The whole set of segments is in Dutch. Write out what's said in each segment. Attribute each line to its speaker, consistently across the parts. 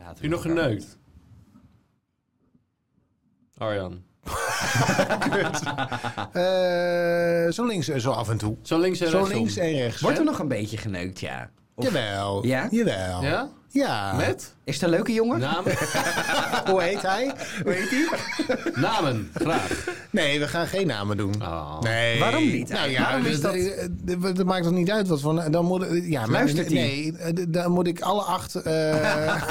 Speaker 1: Heb
Speaker 2: je nog geneukt? Arjan.
Speaker 3: Eh, zo links en zo af en toe.
Speaker 2: Zo links en
Speaker 3: Zo
Speaker 2: rechts.
Speaker 3: links en rechts.
Speaker 1: Wordt
Speaker 3: hè?
Speaker 1: er nog een beetje geneukt, ja. Of-
Speaker 3: Jawel.
Speaker 1: Ja?
Speaker 3: Jawel.
Speaker 2: Ja?
Speaker 3: Ja.
Speaker 2: Met?
Speaker 1: Is dat een leuke jongen?
Speaker 2: Namen?
Speaker 3: Hoe heet hij?
Speaker 2: Namen, graag.
Speaker 3: Nee, we gaan geen namen doen.
Speaker 2: Oh.
Speaker 3: Nee.
Speaker 1: Waarom niet?
Speaker 3: Nou ja,
Speaker 1: Waarom is
Speaker 3: dat...
Speaker 1: dat-
Speaker 3: dat maakt toch niet uit wat voor... Dan moet, ja, maar-
Speaker 1: Luistert hij?
Speaker 3: Nee, eh, d- dan moet ik alle acht... eh,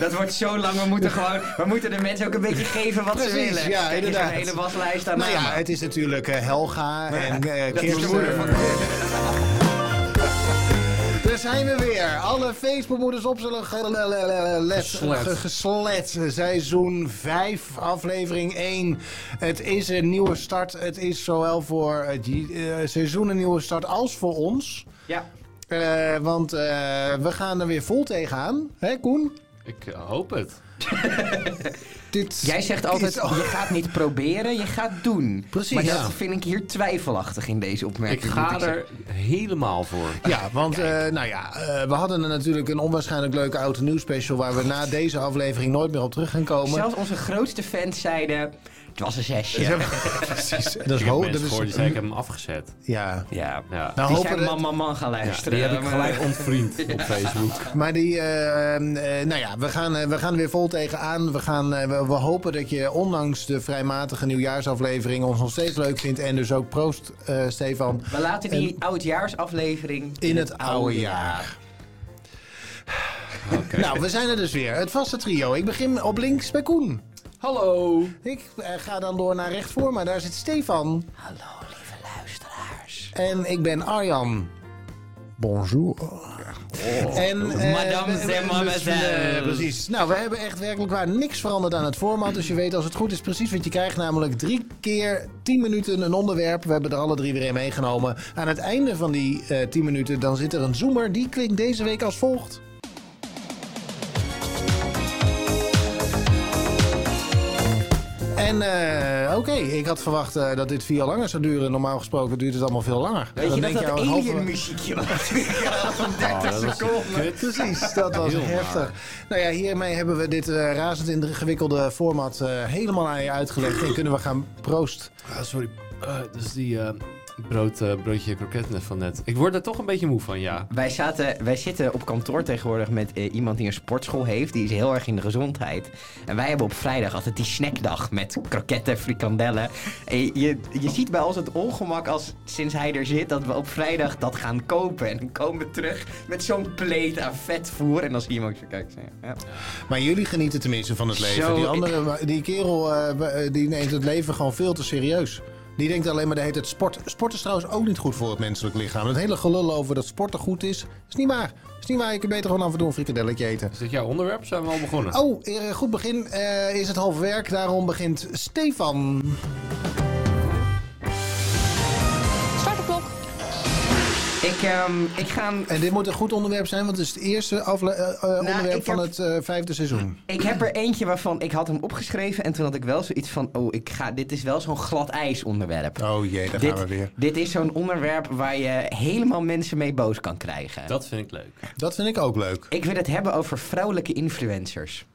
Speaker 1: Dat wordt zo lang. We moeten gewoon. We moeten de mensen ook een beetje geven wat ze
Speaker 3: Precies,
Speaker 1: willen.
Speaker 3: ja,
Speaker 1: Kijk,
Speaker 3: inderdaad.
Speaker 1: Je zo'n hele waslijst aan
Speaker 3: nou ja,
Speaker 1: namen.
Speaker 3: het is natuurlijk eh, Helga en eh
Speaker 1: dat is de
Speaker 3: Kirsten.
Speaker 1: moeder van
Speaker 3: Daar zijn we weer. Alle Facebookmoeders op zullen gelet,
Speaker 2: Geslet.
Speaker 3: ge- geslet. Seizoen 5, aflevering 1. Het is een nieuwe start. Het is zowel voor het j- eh, seizoen een nieuwe start als voor ons.
Speaker 1: Ja.
Speaker 3: Eh, want eh, we gaan er weer vol tegenaan. Hè, Koen?
Speaker 2: Ik eh, hoop het.
Speaker 3: Dit
Speaker 1: Jij zegt altijd:
Speaker 3: is-
Speaker 1: je gaat niet proberen, je gaat doen.
Speaker 3: Precies,
Speaker 1: Maar dat
Speaker 3: ja.
Speaker 1: vind ik hier twijfelachtig in deze
Speaker 2: Ik
Speaker 1: opmerking. moet
Speaker 2: ga
Speaker 1: zeggen.
Speaker 2: er helemaal voor.
Speaker 3: Ja, want eh, nou ja, eh, we hadden er natuurlijk een onwaarschijnlijk leuke oud en nieuw special... waar we na deze aflevering nooit meer op terug gaan komen.
Speaker 1: Zelfs onze grootste fans zeiden: het was een zesje.
Speaker 3: Precies. Dat is
Speaker 2: Ik heb
Speaker 3: hoog.
Speaker 2: mensen
Speaker 3: Dat is,
Speaker 2: gehoord die zei, ik heb hem afgezet.
Speaker 3: ja.
Speaker 1: Ja.
Speaker 2: Ja.
Speaker 3: Nou,
Speaker 1: Die
Speaker 3: hopen
Speaker 1: zijn
Speaker 3: dat-
Speaker 1: man, man, man gaan luisteren.
Speaker 2: die heb ik
Speaker 1: Maar-
Speaker 2: gelijk ontvriend op Facebook.
Speaker 3: Maar die, eh, eh, nou ja, we gaan, eh, we gaan er weer vol tegenaan. We, gaan, eh, we, we hopen dat je ondanks de vrijmatige nieuwjaarsaflevering ons nog steeds leuk vindt. En dus ook proost, eh, Stefan,
Speaker 1: We laten die oudjaarsaflevering
Speaker 3: in het oude jaar.
Speaker 2: Oké.
Speaker 3: Nou, we zijn er dus weer. Het vaste trio. Ik begin op links bij Koen.
Speaker 2: Hallo.
Speaker 3: Ik eh, ga dan door naar rechts voor, maar daar zit Stefan.
Speaker 1: Hallo lieve luisteraars.
Speaker 3: En ik ben Arjan. Bonjour. En, eh,
Speaker 1: Oh. Madame,
Speaker 3: we-
Speaker 1: c'est
Speaker 3: we-
Speaker 1: mademoiselle.
Speaker 3: eh, Precies. Nou, we hebben echt werkelijk waar niks veranderd aan het format. Dus je weet als het goed is precies wat je krijgt. Namelijk drie keer tien minuten een onderwerp. We hebben er alle drie weer een meegenomen. Aan het einde van die eh tien minuten dan zit er een zoomer. Die klinkt deze week als volgt. En eh, oké, ik had verwacht eh, dat dit veel langer zou duren. Normaal gesproken duurt het allemaal veel langer.
Speaker 1: Weet
Speaker 3: Dan
Speaker 1: je
Speaker 3: denk
Speaker 1: dat dat
Speaker 3: al een halve-
Speaker 1: alien muziekje was? Ja, van 30
Speaker 2: dat was-
Speaker 1: seconden.
Speaker 3: Precies, dat was
Speaker 2: Heel
Speaker 3: heftig. Nou ja, hiermee hebben we dit eh, razend ingewikkelde format eh, helemaal aan je uitgelegd. En kunnen we gaan proost.
Speaker 2: Ah, sorry. Eh, dus die eh, brood, eh, broodje kroket net van net. Ik word er toch een beetje moe van, ja.
Speaker 1: Wij, zaten, wij zitten op kantoor tegenwoordig met eh, iemand die een sportschool heeft. Die is heel erg in de gezondheid. En wij hebben op vrijdag altijd die snackdag met kroketten, frikandellen. En je, je, je ziet bij ons het ongemak als sinds hij er zit dat we op vrijdag dat gaan kopen. En dan komen we terug met zo'n pleet aan vetvoer. En dan zie je hem ook zo kijken. zo, Ja.
Speaker 3: Maar jullie genieten tenminste van het leven.
Speaker 1: Zo-
Speaker 3: Die, andere, die kerel eh, be- eh, die neemt het leven gewoon veel te serieus. Die denkt alleen maar, de heet het sport. Sport is trouwens ook niet goed voor het menselijk lichaam. Dat hele gelul over dat sporten goed is, is niet waar. Is niet waar, je kunt beter gewoon af en toe een frikadelletje eten.
Speaker 2: Is dit jouw onderwerp? of Zijn we al begonnen?
Speaker 3: Oh, eh, goed begin eh, is het half werk. Daarom begint Stefan.
Speaker 4: Start de klok.
Speaker 1: Ik, ehm, ik ga hem-
Speaker 3: En dit moet een goed onderwerp zijn, want het is het eerste afle- eh, eh, onderwerp
Speaker 1: Nou, ik
Speaker 3: van
Speaker 1: heb-
Speaker 3: het eh, vijfde seizoen.
Speaker 1: Ik heb er eentje waarvan ik had hem opgeschreven en toen had ik wel zoiets van, oh, ik ga, dit is wel zo'n glad ijs onderwerp.
Speaker 3: Oh jee, daar
Speaker 1: dit, dit is zo'n onderwerp waar je helemaal mensen mee boos kan krijgen.
Speaker 2: Dat vind ik leuk.
Speaker 3: Dat vind ik ook leuk.
Speaker 1: Ik wil het hebben over vrouwelijke influencers.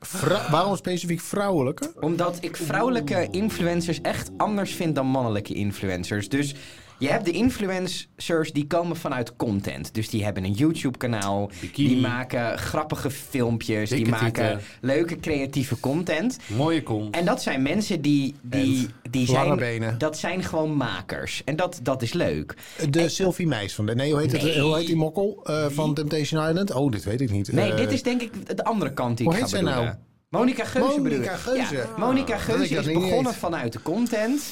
Speaker 3: Vrou- waarom specifiek vrouwelijke?
Speaker 1: Omdat ik vrouwelijke influencers echt anders vind dan mannelijke influencers. Dus je hebt de influencers die komen vanuit content. Dus die hebben een YouTube-kanaal.
Speaker 2: Bikini.
Speaker 1: Die maken grappige filmpjes. Die
Speaker 2: Dikke
Speaker 1: maken
Speaker 2: tieten.
Speaker 1: leuke creatieve content.
Speaker 2: Mooie kom.
Speaker 1: En dat zijn mensen die, die, die
Speaker 3: lange
Speaker 1: zijn,
Speaker 3: benen.
Speaker 1: dat zijn gewoon makers. En dat, dat is leuk.
Speaker 3: De Sylvie Meis van de. Nee, hoe heet, Het,
Speaker 1: Eh, Nee.
Speaker 3: hoe heet die mokkel eh, van Temptation Island? Oh, dit weet ik niet.
Speaker 1: Nee,
Speaker 3: Eh,
Speaker 1: dit is denk ik de andere kant die
Speaker 3: hoe
Speaker 1: ik ga
Speaker 3: heet zij
Speaker 1: bedoelen.
Speaker 3: nou?
Speaker 1: Monica Geuze
Speaker 3: Monica
Speaker 1: bedoel ik.
Speaker 3: Geuze.
Speaker 1: Ja,
Speaker 3: Ah.
Speaker 1: Monica
Speaker 3: Dat ik
Speaker 1: Geuze
Speaker 3: dat
Speaker 1: is
Speaker 3: niet
Speaker 1: begonnen
Speaker 3: weet.
Speaker 1: vanuit de content.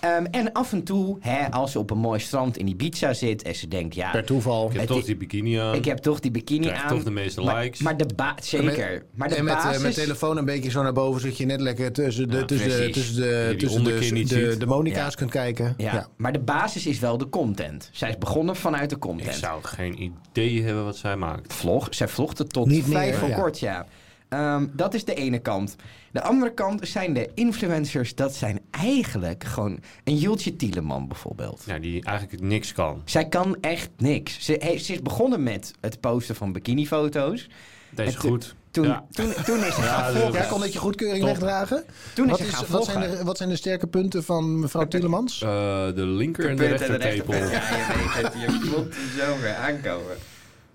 Speaker 1: Ehm, en af en toe, hè, als ze op een mooi strand in Ibiza zit en ze denkt, ja,
Speaker 3: Per toeval.
Speaker 2: Ik heb
Speaker 1: het
Speaker 2: toch
Speaker 1: i-
Speaker 2: die bikini aan.
Speaker 1: ik heb toch die bikini
Speaker 2: Krijgt
Speaker 1: aan.
Speaker 2: toch de meeste
Speaker 1: maar,
Speaker 2: likes.
Speaker 1: Maar de ba- zeker. Maar de
Speaker 3: en met, eh,
Speaker 1: basis...
Speaker 3: met telefoon een beetje zo naar boven, zodat je net lekker tussen de,
Speaker 2: Ja,
Speaker 3: tussen de,
Speaker 2: precies.
Speaker 3: tussen
Speaker 2: Dat je
Speaker 3: de,
Speaker 2: die
Speaker 3: tussen de,
Speaker 2: onderkin
Speaker 3: de,
Speaker 2: niet
Speaker 3: de,
Speaker 2: ziet.
Speaker 3: Monica's
Speaker 1: Ja.
Speaker 3: kunt kijken.
Speaker 1: ja, maar de basis is wel de content. Zij is begonnen vanuit de
Speaker 2: Ik
Speaker 1: content.
Speaker 2: zou geen idee hebben wat zij maakt.
Speaker 1: vlog. Zij vlogde tot
Speaker 3: Niet
Speaker 1: vrij
Speaker 3: meer,
Speaker 1: voor
Speaker 3: ja.
Speaker 1: kort, ja. Ehm, dat is de ene kant. De andere kant zijn de influencers. Dat zijn eigenlijk gewoon een Jultje Tieleman bijvoorbeeld.
Speaker 2: Ja, Nou, die eigenlijk niks kan.
Speaker 1: Zij kan echt niks. Ze, he- ze is begonnen met het posten van bikinifoto's.
Speaker 2: Deze is
Speaker 1: Het-
Speaker 2: goed.
Speaker 1: Toen,
Speaker 2: Ja.
Speaker 1: toen, toen is er
Speaker 2: Ja,
Speaker 1: gaan
Speaker 2: dat is
Speaker 1: volgen.
Speaker 3: Jij kon dat je goedkeuring
Speaker 2: Top.
Speaker 3: wegdragen.
Speaker 1: Toen is
Speaker 3: Wat,
Speaker 1: er
Speaker 3: is,
Speaker 1: gaan
Speaker 3: wat, zijn
Speaker 1: volgen.
Speaker 3: de, wat zijn de sterke punten van mevrouw Tielemans?
Speaker 2: Eh, de linker en de
Speaker 1: Punt en de
Speaker 2: rechtertepel.
Speaker 1: rechterpunt. Ja, je weet het. Je voelt hem zo weer aankomen.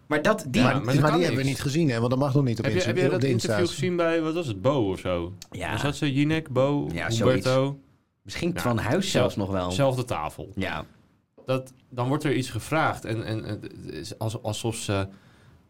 Speaker 1: Maar dat, die...
Speaker 2: Ja,
Speaker 3: maar
Speaker 2: dat kan
Speaker 3: die hebben we
Speaker 2: niks.
Speaker 3: niet gezien, hè? Want dat mag nog niet op,
Speaker 2: Heb je,
Speaker 3: Insta-
Speaker 2: heb je
Speaker 3: op
Speaker 2: dat
Speaker 3: de
Speaker 2: interview
Speaker 3: Insta's.
Speaker 2: gezien bij, wat was het, Bo of zo?
Speaker 1: Ja.
Speaker 2: Was Dus dat zo, Jinek, Bo,
Speaker 1: Ja, Oh.
Speaker 2: Humberto?
Speaker 1: Misschien
Speaker 2: Ja.
Speaker 1: van huis zelfs nog wel.
Speaker 2: Zelfde tafel.
Speaker 1: Ja.
Speaker 2: Dat, dan wordt er iets gevraagd en, en eh, het is als- alsof, ze,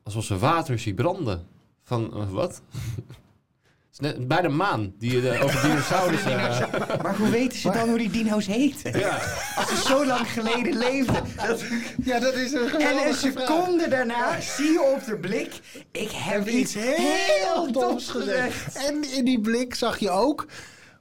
Speaker 2: alsof ze water zien branden. Van, eh, wat? Het is net- bij de maan, die je de, over dinosaurussen... eh,
Speaker 1: Maar hoe weten ze dan hoe die dino's heten?
Speaker 2: ja.
Speaker 1: Als ze zo lang geleden leefden. Dat...
Speaker 3: Ja, dat is een
Speaker 1: En een
Speaker 3: geweldige vraag.
Speaker 1: seconde daarna zie je op de blik... Ik heb iets heel doms gezegd.
Speaker 3: En in die blik zag je ook.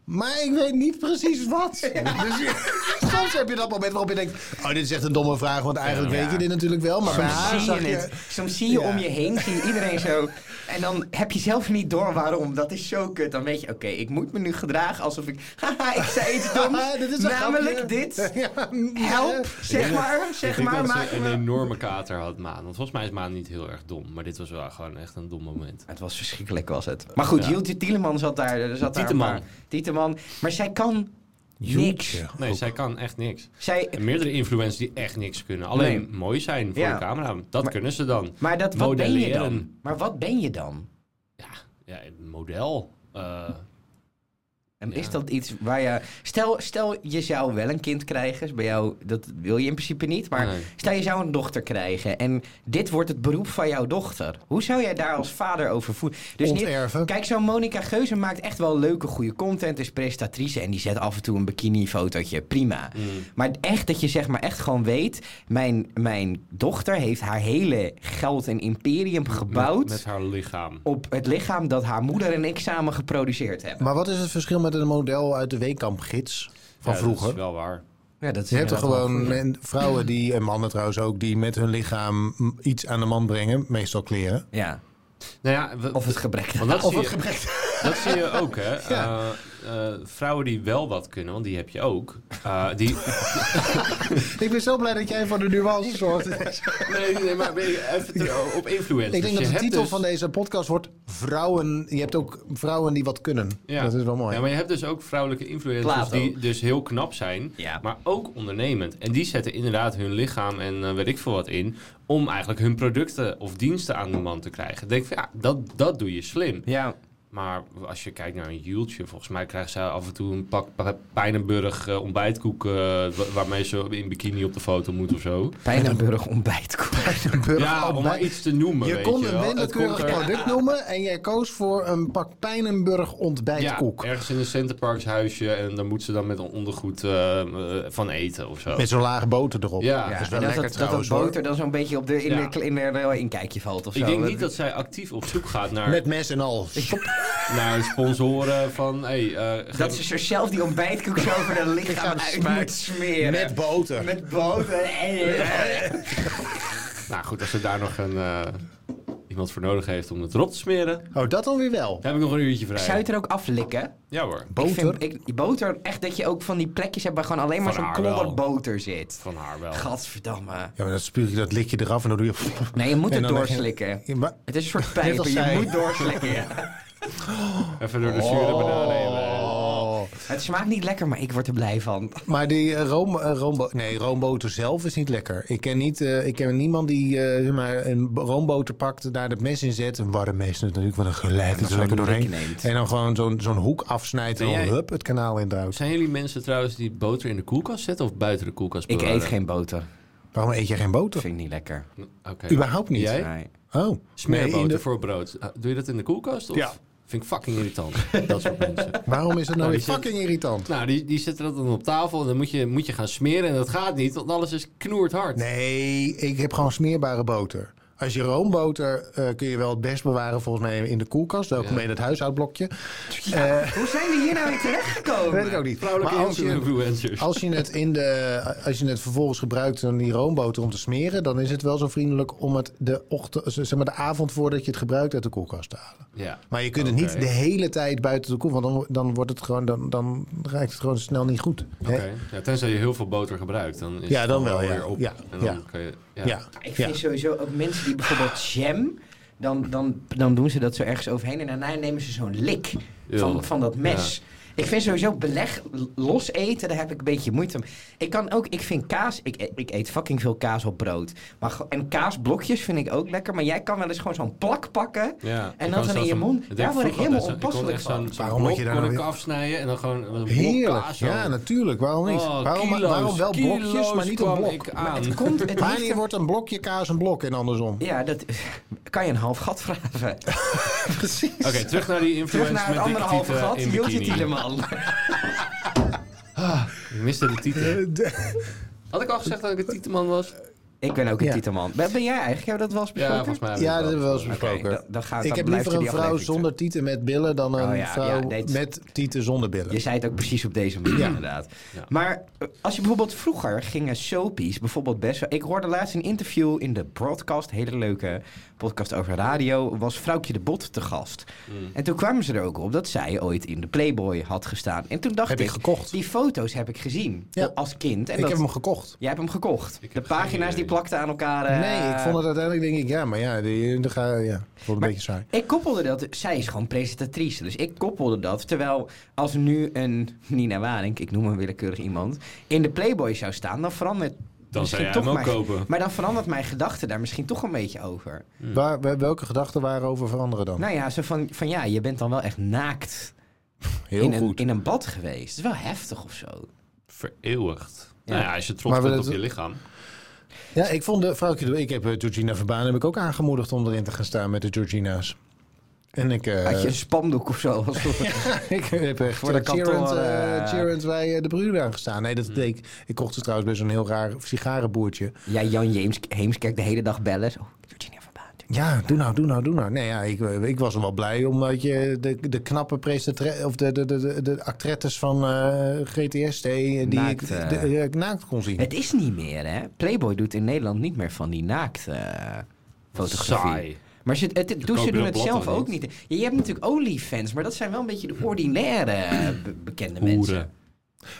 Speaker 3: Maar ik weet niet precies wat. Dus je- soms heb je dat moment waarop je denkt: Oh, dit is echt een domme vraag. Want eigenlijk
Speaker 1: Ja.
Speaker 3: weet je dit natuurlijk wel. Maar bij haar
Speaker 1: Soms zie
Speaker 3: zag
Speaker 1: je het. Soms zie je
Speaker 3: Ja.
Speaker 1: om je heen, zie je iedereen zo. En dan heb je zelf niet door waarom. Dat is zo kut. Dan weet je, oké, ik moet me nu gedragen alsof ik... Haha, ik zei iets doms.
Speaker 3: Ah, dit is een
Speaker 1: namelijk
Speaker 3: grapje.
Speaker 1: dit.
Speaker 3: Ja,
Speaker 1: Help, zeg maar,
Speaker 2: Ik
Speaker 1: zeg
Speaker 2: denk
Speaker 1: maar,
Speaker 2: dat
Speaker 1: maak
Speaker 2: ze een
Speaker 1: me...
Speaker 2: enorme kater had, Maan. Want volgens mij is Maan niet heel erg dom. Maar dit was wel gewoon echt een dom moment.
Speaker 1: Het was verschrikkelijk, was het. Maar goed,
Speaker 2: Ja.
Speaker 1: Jultje Tieleman zat daar. er Zat
Speaker 2: Tieteman.
Speaker 1: Daar een paar- Tieteman. Maar zij kan niks.
Speaker 2: Nee, zij kan echt niks.
Speaker 1: Zij,
Speaker 2: En meerdere influencers die echt niks kunnen. Alleen
Speaker 1: Nee.
Speaker 2: mooi zijn voor
Speaker 1: Ja.
Speaker 2: de camera. Dat
Speaker 1: Maar-
Speaker 2: kunnen ze dan.
Speaker 1: maar dat, wat ben je dan?
Speaker 2: Modelleren.
Speaker 1: Maar wat ben je dan?
Speaker 2: Ja, ja een model. Eh,
Speaker 1: En
Speaker 2: Ja.
Speaker 1: is dat iets waar je... Stel, stel, je zou wel een kind krijgen. is Bij jou, dat wil je in principe niet. Maar
Speaker 2: Nee.
Speaker 1: stel, je zou een dochter krijgen. En dit wordt het beroep van jouw dochter. Hoe zou jij daar als vader over voelen? Dus niet,
Speaker 3: Onterven.
Speaker 1: Kijk, zo'n Monica Geuzen maakt echt wel leuke, goede content. Is presentatrice en die zet af en toe een bikini-fotootje. Prima.
Speaker 2: Mm.
Speaker 1: Maar echt dat je zeg maar echt gewoon weet... Mijn, mijn dochter heeft haar hele geld en imperium gebouwd...
Speaker 2: met, met haar lichaam.
Speaker 1: op het lichaam dat haar moeder en ik samen geproduceerd hebben.
Speaker 3: Maar wat is het verschil met een model uit de Weekampgids van
Speaker 2: Ja, Dat
Speaker 3: vroeger?
Speaker 2: is wel waar.
Speaker 1: Ja, dat is
Speaker 3: Je hebt er
Speaker 1: inderdaad wel
Speaker 3: gewoon
Speaker 1: goed.
Speaker 3: men- vrouwen die, en mannen trouwens ook, die met hun lichaam mm, iets aan de man brengen. Meestal kleren.
Speaker 1: Ja,
Speaker 2: Nou ja, we-
Speaker 1: of het gebrek.
Speaker 2: want dat
Speaker 3: Of
Speaker 2: zie
Speaker 3: het
Speaker 2: je- Dat zie je ook, hè. Eh, eh, vrouwen die wel wat kunnen, want die heb je ook. Eh, die,
Speaker 3: Ik ben zo blij dat jij van de nuance zorgt.
Speaker 2: nee, nee, maar even ter- op influencers.
Speaker 3: Ik denk
Speaker 2: Je
Speaker 3: dat de
Speaker 2: hebt
Speaker 3: titel
Speaker 2: Dus dus-
Speaker 3: van deze podcast wordt Vrouwen. Je hebt ook vrouwen die wat kunnen.
Speaker 2: Ja.
Speaker 3: Dat is wel mooi.
Speaker 2: Ja, maar je hebt dus ook vrouwelijke influencers
Speaker 1: Plato.
Speaker 2: die dus heel knap zijn,
Speaker 1: Ja.
Speaker 2: maar ook ondernemend. En die zetten inderdaad hun lichaam en eh, weet ik veel wat in om eigenlijk hun producten of diensten aan de man te krijgen. Ik denk van ja, dat, dat doe je slim.
Speaker 1: Ja,
Speaker 2: Maar als je kijkt naar een Jultje, volgens mij krijgt zij af en toe een pak pa- Pijnenburg eh, ontbijtkoek eh, wa- waarmee ze in bikini op de foto moet of zo.
Speaker 1: Pijnenburg ontbijtkoek.
Speaker 2: Ja, om maar iets te noemen.
Speaker 3: je
Speaker 2: weet
Speaker 3: kon
Speaker 2: je
Speaker 3: een
Speaker 2: wel. Het
Speaker 3: willekeurig
Speaker 2: komt er-
Speaker 3: product noemen en jij koos voor een pak Pijnenburg ontbijtkoek.
Speaker 2: Ja, ergens in een Centerparks huisje en daar moet ze dan met een ondergoed eh, eh, van eten of zo.
Speaker 3: Met zo'n laag boter erop.
Speaker 2: Ja,
Speaker 1: Ja,
Speaker 3: dat is
Speaker 1: en dat,
Speaker 3: wel lekker
Speaker 1: dat, dat
Speaker 3: trouwens, hoor.
Speaker 1: boter dan zo'n beetje op de, in,
Speaker 2: Ja.
Speaker 1: de, in de inkijkje valt of zo.
Speaker 2: ik denk
Speaker 1: Dat-
Speaker 2: niet dat zij actief op zoek gaat naar,
Speaker 3: Met mes en al.
Speaker 2: naar sponsoren van... Hey, eh,
Speaker 1: Dat
Speaker 2: geef-
Speaker 1: ze zichzelf die ontbijtkoek zo over haar lichaam uit moet smeren.
Speaker 3: Met boter.
Speaker 1: Met boter. en-
Speaker 2: Nou goed, als ze daar nog een, eh, iemand voor nodig heeft om het erop te smeren, dan
Speaker 3: Oh, dat dan weer wel.
Speaker 2: heb ik nog een uurtje vrij.
Speaker 1: Zou je het er ook aflikken?
Speaker 2: Ja hoor,
Speaker 1: Ik
Speaker 3: Boter.
Speaker 1: vind, ik, boter, echt dat je ook van die plekjes hebt waar gewoon alleen maar
Speaker 2: Van
Speaker 1: zo'n
Speaker 2: haar wel.
Speaker 1: klodder boter zit.
Speaker 2: van haar wel.
Speaker 1: Gadverdamme.
Speaker 3: Ja, maar dat spuug je dat likje eraf en dan doe je...
Speaker 1: Nee, je moet
Speaker 3: En
Speaker 1: het
Speaker 3: dan leg je-
Speaker 1: doorslikken.
Speaker 3: Ja, maar-
Speaker 1: Het is een soort
Speaker 3: Net als
Speaker 1: pijpen,
Speaker 3: zij.
Speaker 1: je moet doorslikken. ja.
Speaker 2: Even door de zure bananen heen. eh.
Speaker 3: Oh.
Speaker 1: Het smaakt niet lekker, maar ik word er blij van.
Speaker 3: Maar die eh, room, eh, roombo- nee, roomboter zelf is niet lekker. Ik ken, niet, eh, ik ken niemand die eh, zeg maar een b- roomboter pakt, daar het mes in zet. Een warm mes natuurlijk, want dan glijdt het er
Speaker 1: zo'n
Speaker 3: lekker doorheen.
Speaker 1: blik neemt.
Speaker 3: En dan gewoon zo'n zo'n hoek afsnijdt en
Speaker 2: Ben
Speaker 3: dan
Speaker 2: jij-
Speaker 3: hup, het kanaal induwt.
Speaker 2: Zijn jullie mensen trouwens die boter in de koelkast zetten of buiten de koelkast
Speaker 1: Ik
Speaker 2: bewaren?
Speaker 1: eet geen boter.
Speaker 3: Waarom eet je geen boter?
Speaker 1: Dat vind ik niet lekker.
Speaker 2: Oké.
Speaker 3: Überhaupt niet.
Speaker 2: Jij?
Speaker 1: Nee.
Speaker 3: Oh.
Speaker 2: Smeerboter
Speaker 3: Nee, in de-
Speaker 2: voor brood. Ah, Doe je dat in de koelkast? Of?
Speaker 3: Ja.
Speaker 2: Vind ik fucking irritant. dat soort mensen.
Speaker 3: Waarom is
Speaker 1: Oh,
Speaker 2: Nou,
Speaker 3: dat nou weer
Speaker 2: die zit-
Speaker 3: fucking irritant?
Speaker 2: Nou, die, die zetten dat dan op tafel en dan moet je, moet je gaan smeren en dat gaat niet, want alles is knoerd hard.
Speaker 3: Nee, ik heb gewoon smeerbare boter. Als je roomboter eh, kun je wel het best bewaren volgens mij in de koelkast. Welkom mee in het huishoudblokje.
Speaker 2: Oh,
Speaker 3: Eh,
Speaker 1: Hoe zijn we hier nou weer terechtgekomen?
Speaker 3: weet ik ook niet.
Speaker 2: Vrouwelijke
Speaker 3: Maar als je-
Speaker 2: influencers.
Speaker 3: Als je, het in de, als je het vervolgens gebruikt dan die roomboter om te smeren, dan is het wel zo vriendelijk om het de, ochtend, zeg maar de avond voordat je het gebruikt uit de koelkast te halen.
Speaker 2: Ja.
Speaker 3: Maar je kunt
Speaker 2: Oké.
Speaker 3: het niet de hele tijd buiten de koel, want dan, dan, wordt het gewoon, dan, dan raakt het gewoon snel niet goed. hè?
Speaker 2: Oké. Ja, tenzij je heel veel boter gebruikt, dan is
Speaker 3: Ja,
Speaker 2: het
Speaker 3: dan
Speaker 2: gewoon
Speaker 3: wel, ja.
Speaker 2: weer op.
Speaker 3: Ja,
Speaker 2: En dan
Speaker 3: ja.
Speaker 2: kan je, ja.
Speaker 3: Ja.
Speaker 1: Ik
Speaker 3: Ja.
Speaker 1: vind sowieso ook mensen die bijvoorbeeld jam dan, dan, dan doen ze dat zo ergens overheen. En daarna nemen ze zo'n lik
Speaker 2: Eeuw.
Speaker 1: van, van dat mes. Ik vind sowieso beleg l- los eten, daar heb ik een beetje moeite mee. Ik kan ook, ik vind kaas, ik, e- ik eet fucking veel kaas op brood. Maar, ge- en kaasblokjes vind ik ook lekker. Maar jij kan wel eens gewoon zo'n plak pakken.
Speaker 2: Ja.
Speaker 1: En dan zo in je mond, daar word ik helemaal onpasselijk van.
Speaker 3: Waarom
Speaker 2: Waarom
Speaker 3: moet
Speaker 2: moet
Speaker 3: je
Speaker 2: je
Speaker 3: daar
Speaker 2: daar kon ik
Speaker 3: nou weer-
Speaker 2: afsnijden en dan gewoon een blok
Speaker 3: Heerlijk.
Speaker 2: kaas zo.
Speaker 3: Ja, natuurlijk. Waarom niet?
Speaker 2: Oh,
Speaker 3: waarom,
Speaker 2: kilo's,
Speaker 3: waarom wel blokjes, maar niet een
Speaker 2: kilo's kwam
Speaker 3: blok?
Speaker 2: ik aan.
Speaker 1: Het komt, het heeft
Speaker 3: Wanneer wordt een blokje kaas een blok en andersom?
Speaker 1: Ja, dat kan je een half gat vragen.
Speaker 3: Precies.
Speaker 2: Oké, terug naar die
Speaker 1: Terug
Speaker 2: influencer
Speaker 1: naar het
Speaker 2: met
Speaker 1: andere
Speaker 2: dikke
Speaker 1: halve
Speaker 2: tieten
Speaker 1: gat,
Speaker 2: in
Speaker 1: Jotje
Speaker 2: bikini.
Speaker 1: Tieleman.
Speaker 2: Ik miste de titel. Had ik al gezegd dat ik een tietenman was?
Speaker 1: Ik ben ook een
Speaker 3: Ja.
Speaker 1: titelman. Ben, ben jij eigenlijk? Hebben we dat wel eens
Speaker 2: Ja,
Speaker 1: besproken?
Speaker 2: volgens mij.
Speaker 3: Ja, dat hebben we wel eens
Speaker 1: Oké,
Speaker 3: besproken.
Speaker 1: dan, dan gaat,
Speaker 3: ik
Speaker 1: dan
Speaker 3: heb
Speaker 1: blijft
Speaker 3: liever een
Speaker 1: die
Speaker 3: vrouw
Speaker 1: aflevering
Speaker 3: zonder tieten met billen dan een
Speaker 1: Oh ja,
Speaker 3: vrouw
Speaker 1: ja, nee, het-
Speaker 3: met tieten zonder billen.
Speaker 1: Je zei het ook precies op deze manier, inderdaad.
Speaker 2: Ja.
Speaker 1: Maar eh, als je bijvoorbeeld vroeger gingen soapies, bijvoorbeeld best wel... Ik hoorde laatst een interview in de broadcast, hele leuke podcast over radio, was Vrouwtje de Bot te gast.
Speaker 2: Hmm.
Speaker 1: En toen kwamen ze er ook op dat zij ooit in de Playboy had gestaan. En toen dacht
Speaker 3: Heb ik
Speaker 1: ik,
Speaker 3: gekocht.
Speaker 1: die foto's heb ik gezien
Speaker 3: Ja.
Speaker 1: als kind. En
Speaker 3: ik
Speaker 1: dat,
Speaker 3: heb hem gekocht.
Speaker 1: Jij hebt hem gekocht.
Speaker 2: Ik
Speaker 1: de
Speaker 2: heb geen
Speaker 1: pagina's die
Speaker 2: idee.
Speaker 1: plakten aan elkaar. eh,
Speaker 3: nee, ik vond het uiteindelijk denk ik, ja, maar ja, die, die ga, ja ik vond het een beetje saai.
Speaker 1: Ik koppelde dat, zij is gewoon presentatrice, dus ik koppelde dat. Terwijl als nu een Nina Waring, ik noem een willekeurig iemand, in de Playboy zou staan, dan verandert
Speaker 2: Dan zou
Speaker 1: misschien
Speaker 2: jij
Speaker 1: toch
Speaker 2: hem ook
Speaker 1: mijn-
Speaker 2: kopen.
Speaker 1: Maar dan verandert mijn gedachte daar misschien toch een beetje over.
Speaker 3: Waar, waar- welke gedachten waren over veranderen dan?
Speaker 1: Mm. Nou ja, zo van, van ja, je bent dan wel echt naakt
Speaker 3: Heel
Speaker 1: in een,
Speaker 3: goed.
Speaker 1: in een bad geweest. Dat is wel heftig of zo.
Speaker 2: Eh. Vereeuwigd.
Speaker 1: Ja.
Speaker 2: Nou ja, als je trots
Speaker 3: Maar we
Speaker 2: bent op
Speaker 3: dat-
Speaker 2: je lichaam.
Speaker 3: Ja, ik vond de vrouwtje, door- ik heb eh, Georgina Verbaan heb ik ook aangemoedigd om erin te gaan staan met de Georgina's. En ik, eh,
Speaker 1: Had je een spandoek of zo? Als
Speaker 3: ik heb echt
Speaker 1: Voor de
Speaker 3: cheerend,
Speaker 1: kantoor,
Speaker 3: eh,
Speaker 1: eh, Hmm.
Speaker 3: cheerend bij eh, de Bruder aan gestaan. Nee, dat deed ik. Ik kocht ze trouwens bij zo'n heel raar sigarenboertje.
Speaker 1: ja, Jan James, Heemskerk de hele dag bellen. Zo, nou Virginia Verbaan.
Speaker 3: Ja, doe nou, doe nou, doe nou. Nee, ja, ik, ik was wel blij omdat je de, de knappe prestatre- of de, de, de, de, de actrettes van eh, GTST die
Speaker 1: Naakt,
Speaker 3: ik
Speaker 1: eh.
Speaker 3: de- eh, naakt kon zien.
Speaker 1: Het is niet meer, hè? Playboy doet in Nederland niet meer van die naakte eh, fotografie.
Speaker 2: Saai.
Speaker 1: Maar ze, het, het-
Speaker 2: koop
Speaker 1: ze
Speaker 2: je
Speaker 1: doen
Speaker 2: dat
Speaker 1: het
Speaker 2: blad
Speaker 1: zelf
Speaker 2: dan
Speaker 1: ook niet. Ja, je hebt natuurlijk OnlyFans, maar dat zijn wel een beetje de ordinaire eh, be- bekende mensen.
Speaker 2: Hoeren.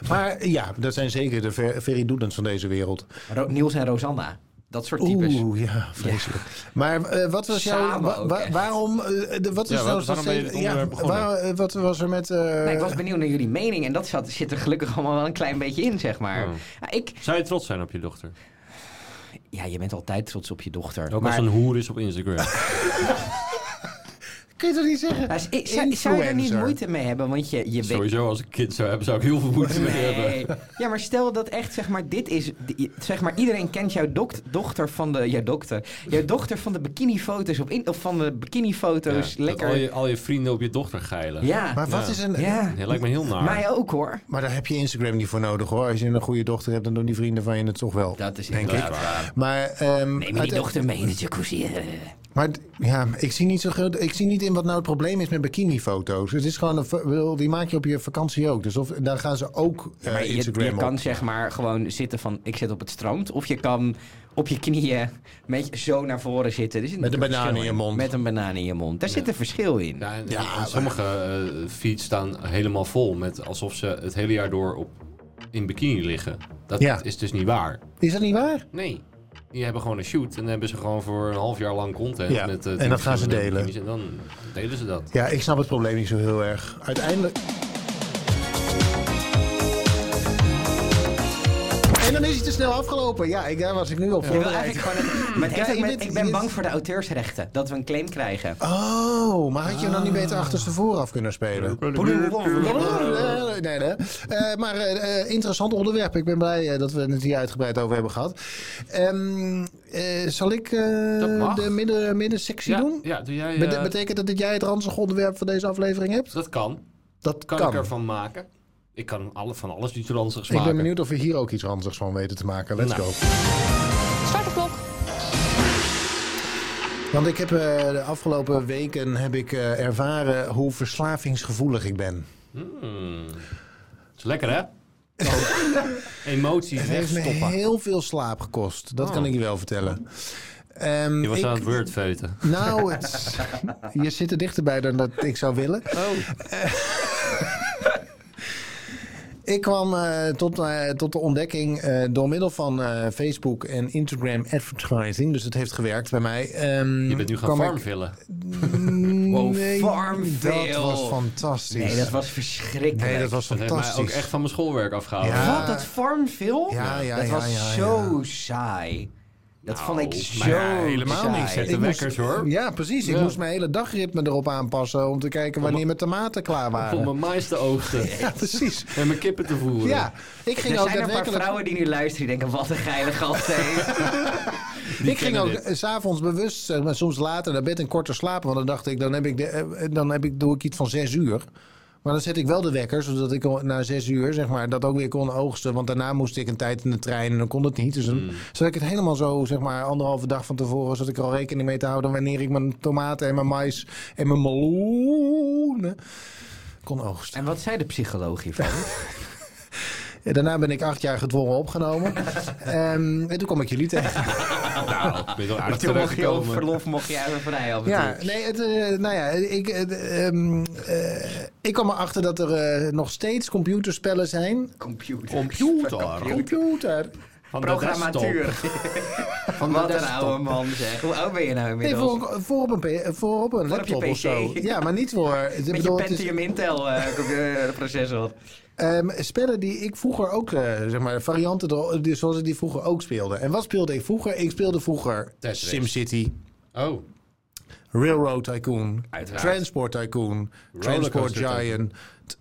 Speaker 3: Maar eh, ja, dat zijn zeker de ver, veridoedens van deze wereld.
Speaker 1: Ro- Niels en Rosanna. Dat soort types.
Speaker 3: Oeh, ja, vreselijk. Maar eh, wat was jouw...
Speaker 1: Samen
Speaker 3: wa-
Speaker 1: ook
Speaker 3: wa-
Speaker 1: echt.
Speaker 3: waarom... eh, de- wat is
Speaker 2: Ja,
Speaker 3: nou
Speaker 2: wat- waarom ben je dit onderwerp begonnen?
Speaker 3: waar- eh, wat was er met... eh,
Speaker 1: Nee, Nou, ik was benieuwd naar jullie mening en dat zat, zit er gelukkig allemaal wel een klein beetje in, zeg maar.
Speaker 2: Oh.
Speaker 1: Ja, ik,
Speaker 2: Zou je trots zijn op je dochter?
Speaker 1: ja, je bent altijd trots op je dochter.
Speaker 2: Ook
Speaker 1: maar,
Speaker 2: als een hoer is op Instagram.
Speaker 3: Kun je toch niet zeggen?
Speaker 1: Maar z- ik- zou, zou je er niet
Speaker 3: Influencer.
Speaker 1: moeite mee hebben? Want je, je weet,
Speaker 2: Sowieso, als ik een kind zou hebben, zou ik heel veel moeite mee hebben.
Speaker 1: Nee. Ja, maar stel dat echt, zeg maar, dit is... die- Zeg maar, iedereen kent jouw dokt- dochter van de... Jouw dokter. Jouw dochter van de bikinifoto's op... In, of van de
Speaker 2: Ja,
Speaker 1: bikinifoto's.
Speaker 2: dat
Speaker 1: lekker.
Speaker 2: al, je, al je vrienden op je dochter geilen.
Speaker 1: Ja.
Speaker 3: Maar wat
Speaker 2: Ja.
Speaker 3: is een...
Speaker 1: ja.
Speaker 2: Dat lijkt me heel naar.
Speaker 1: Mij ook, hoor.
Speaker 3: Maar daar heb je Instagram niet voor nodig hoor. Als je een goede dochter hebt, dan doen die vrienden van je het toch wel.
Speaker 1: Dat is
Speaker 3: denk ik.
Speaker 1: inderdaad waar.
Speaker 3: Maar, ehm,
Speaker 1: Neem je
Speaker 3: uit-
Speaker 1: die dochter mee in de jacuzzi. eh.
Speaker 3: maar d- ja, ik zie niet zo groot. Ik zie niet in wat nou het probleem is met bikinifoto's. Het is gewoon een, v- wil- die maak je op je vakantie ook. Dus of, daar gaan ze ook eh,
Speaker 1: Maar je,
Speaker 3: Instagram
Speaker 1: je
Speaker 3: op.
Speaker 1: kan zeg maar gewoon zitten van... Ik zit op het strand. Of je kan op je knieën met je zo naar voren zitten. Er zit
Speaker 3: Met een
Speaker 1: natuurlijk
Speaker 3: banaan in
Speaker 1: verschil
Speaker 3: je mond.
Speaker 1: Met een banaan in je mond. Daar zit een verschil in.
Speaker 2: Ja, en- en
Speaker 3: Ja,
Speaker 2: sommige eh, feeds staan helemaal vol met alsof ze het hele jaar door op, in bikini liggen. Dat
Speaker 3: Ja.
Speaker 2: is dus niet waar.
Speaker 3: Is dat niet waar?
Speaker 2: Nee. Die hebben gewoon een shoot en dan hebben ze gewoon voor een half jaar lang content.
Speaker 3: Ja,
Speaker 2: Met, eh,
Speaker 3: en
Speaker 2: tien
Speaker 3: dat gaan ze
Speaker 2: verschillende
Speaker 3: delen.
Speaker 2: bikinis En dan delen ze dat.
Speaker 3: Ja, ik snap het probleem niet zo heel erg. Uiteindelijk. En dan is het te snel afgelopen. Ja, ik, daar was ik nu op
Speaker 1: Je wil
Speaker 3: voorbereid.
Speaker 1: eigenlijk gewoon... Maar het heeft
Speaker 3: Ja,
Speaker 1: ook met-
Speaker 3: dit-
Speaker 1: ik ben
Speaker 3: dit-
Speaker 1: bang voor de auteursrechten. Dat we een claim krijgen.
Speaker 3: Oh, maar had je hem dan niet beter achterstevoren af kunnen spelen? Nee, nee. Eh, maar eh, eh, interessant onderwerp. Ik ben blij eh, dat we het hier uitgebreid over hebben gehad. Ehm, eh, zal ik eh,
Speaker 2: Dat mag.
Speaker 3: de midden, middensectie
Speaker 2: Ja,
Speaker 3: doen?
Speaker 2: ja, doe jij, eh,
Speaker 3: Bet- betekent dat dat jij het ranzig onderwerp van deze aflevering hebt?
Speaker 2: dat kan.
Speaker 3: Dat kan.
Speaker 2: Kan, ik ervan maken. Ik kan alle, van alles iets ranzigs
Speaker 3: Ik
Speaker 2: maken.
Speaker 3: ben benieuwd of we hier ook iets ranzigs van weten te maken. Let's
Speaker 2: Nou.
Speaker 3: go.
Speaker 4: Start de klok.
Speaker 3: Want ik heb eh, de afgelopen weken heb ik, eh, ervaren hoe verslavingsgevoelig ik ben.
Speaker 2: Mm. Is lekker, hè? Emoties
Speaker 3: Het heeft me
Speaker 2: wegstoppen.
Speaker 3: heel veel slaap gekost. Dat
Speaker 2: Oh.
Speaker 3: kan ik je wel vertellen. Ehm,
Speaker 2: Je was
Speaker 3: ik-
Speaker 2: aan het wordfeuten.
Speaker 3: Nou, het, je zit er dichterbij dan dat ik zou willen.
Speaker 2: Oh.
Speaker 3: Ik kwam eh, tot, eh, tot de ontdekking eh, door middel van eh, Facebook en Instagram advertising. Dus het heeft gewerkt bij mij. Ehm,
Speaker 2: Je bent nu gaan
Speaker 3: kwam ik- Mm,
Speaker 2: farmvillen.
Speaker 1: Wow,
Speaker 3: Nee,
Speaker 1: Farmville.
Speaker 3: Dat was fantastisch.
Speaker 1: Nee, dat was verschrikkelijk.
Speaker 3: Nee, dat was
Speaker 2: Dat heeft mij
Speaker 3: fantastisch.
Speaker 2: ook echt van mijn schoolwerk afgehouden.
Speaker 3: Ja.
Speaker 1: Wat, dat Farmville?
Speaker 3: Ja, ja,
Speaker 1: dat
Speaker 3: ja,
Speaker 1: was
Speaker 3: ja,
Speaker 1: zo
Speaker 3: ja.
Speaker 1: saai. Dat
Speaker 2: Nou,
Speaker 1: vond ik
Speaker 2: maar
Speaker 1: zo
Speaker 2: ja, helemaal
Speaker 1: saai.
Speaker 2: niet, zeg.
Speaker 1: Ik-
Speaker 2: De
Speaker 3: Ik moest-
Speaker 2: wekkers, hoor.
Speaker 3: Ja, precies. Ik
Speaker 2: Ja.
Speaker 3: moest mijn hele dagritme erop aanpassen om te kijken wanneer mijn tomaten klaar
Speaker 2: Om
Speaker 3: waren.
Speaker 2: mijn mais te oogsten
Speaker 3: Ja, precies.
Speaker 2: en mijn kippen te voeren.
Speaker 3: Ja, ik ging
Speaker 1: Er zijn een
Speaker 3: ook
Speaker 1: paar
Speaker 3: daadwerkelijk-
Speaker 1: vrouwen die nu luisteren die denken, wat een geile gast. hè.
Speaker 2: Die
Speaker 3: ik ging
Speaker 2: kennen
Speaker 3: ook
Speaker 2: dit.
Speaker 3: eh, s'avonds bewust, zeg maar, soms later naar bed en korter slapen. Want dan dacht ik, dan, heb ik de, eh, eh, dan heb ik, doe ik iets van zes uur. Maar dan zet ik wel de wekker, zodat ik al na zes uur zeg maar, dat ook weer kon oogsten. Want daarna moest ik een tijd in de trein en dan kon het niet. Dus dan
Speaker 1: Hmm.
Speaker 3: zat ik het helemaal zo, zeg maar, anderhalve dag van tevoren... zodat ik er al rekening mee te houden wanneer ik mijn tomaten en mijn mais en mijn meloenen kon oogsten.
Speaker 1: En wat zei de psycholoog hiervan?
Speaker 3: En daarna ben ik acht jaar gedwongen opgenomen. Ehm, en toen kwam ik jullie tegen.
Speaker 2: Nou, ik ben wel aardig
Speaker 1: Toen mocht je op
Speaker 2: terechtgekomen.
Speaker 1: verlof mocht je even vrij af en
Speaker 3: Ja,
Speaker 1: toe.
Speaker 3: nee, het, eh, nou ja, ik, eh, ehm, eh, ik kwam erachter dat er eh, nog steeds computerspellen zijn.
Speaker 1: Computer.
Speaker 2: Computer.
Speaker 3: Computer.
Speaker 2: Van de desktop.
Speaker 1: Programmatuur.
Speaker 2: Van de
Speaker 1: Wat een
Speaker 2: desktop.
Speaker 1: oude man zeg. Hoe oud ben je nou
Speaker 3: Nee,
Speaker 1: inmiddels?
Speaker 3: voor, voor op een, P- voor op een
Speaker 1: je
Speaker 3: laptop
Speaker 1: PC.
Speaker 3: of zo. Ja, maar niet voor. Ik
Speaker 1: Met je
Speaker 3: bedoel, het is,
Speaker 1: Pentium Intel eh, computer- processor.
Speaker 3: ehm, spellen die ik vroeger ook, eh, zeg maar, varianten er- die- zoals ik die vroeger ook speelde. En wat speelde ik vroeger? Ik speelde vroeger
Speaker 2: Tetris.
Speaker 3: SimCity,
Speaker 2: Oh,
Speaker 3: Railroad Tycoon,
Speaker 2: Uiteraard.
Speaker 3: Transport Tycoon, Transport
Speaker 2: Rollercoaster Tycoon.
Speaker 3: Giant,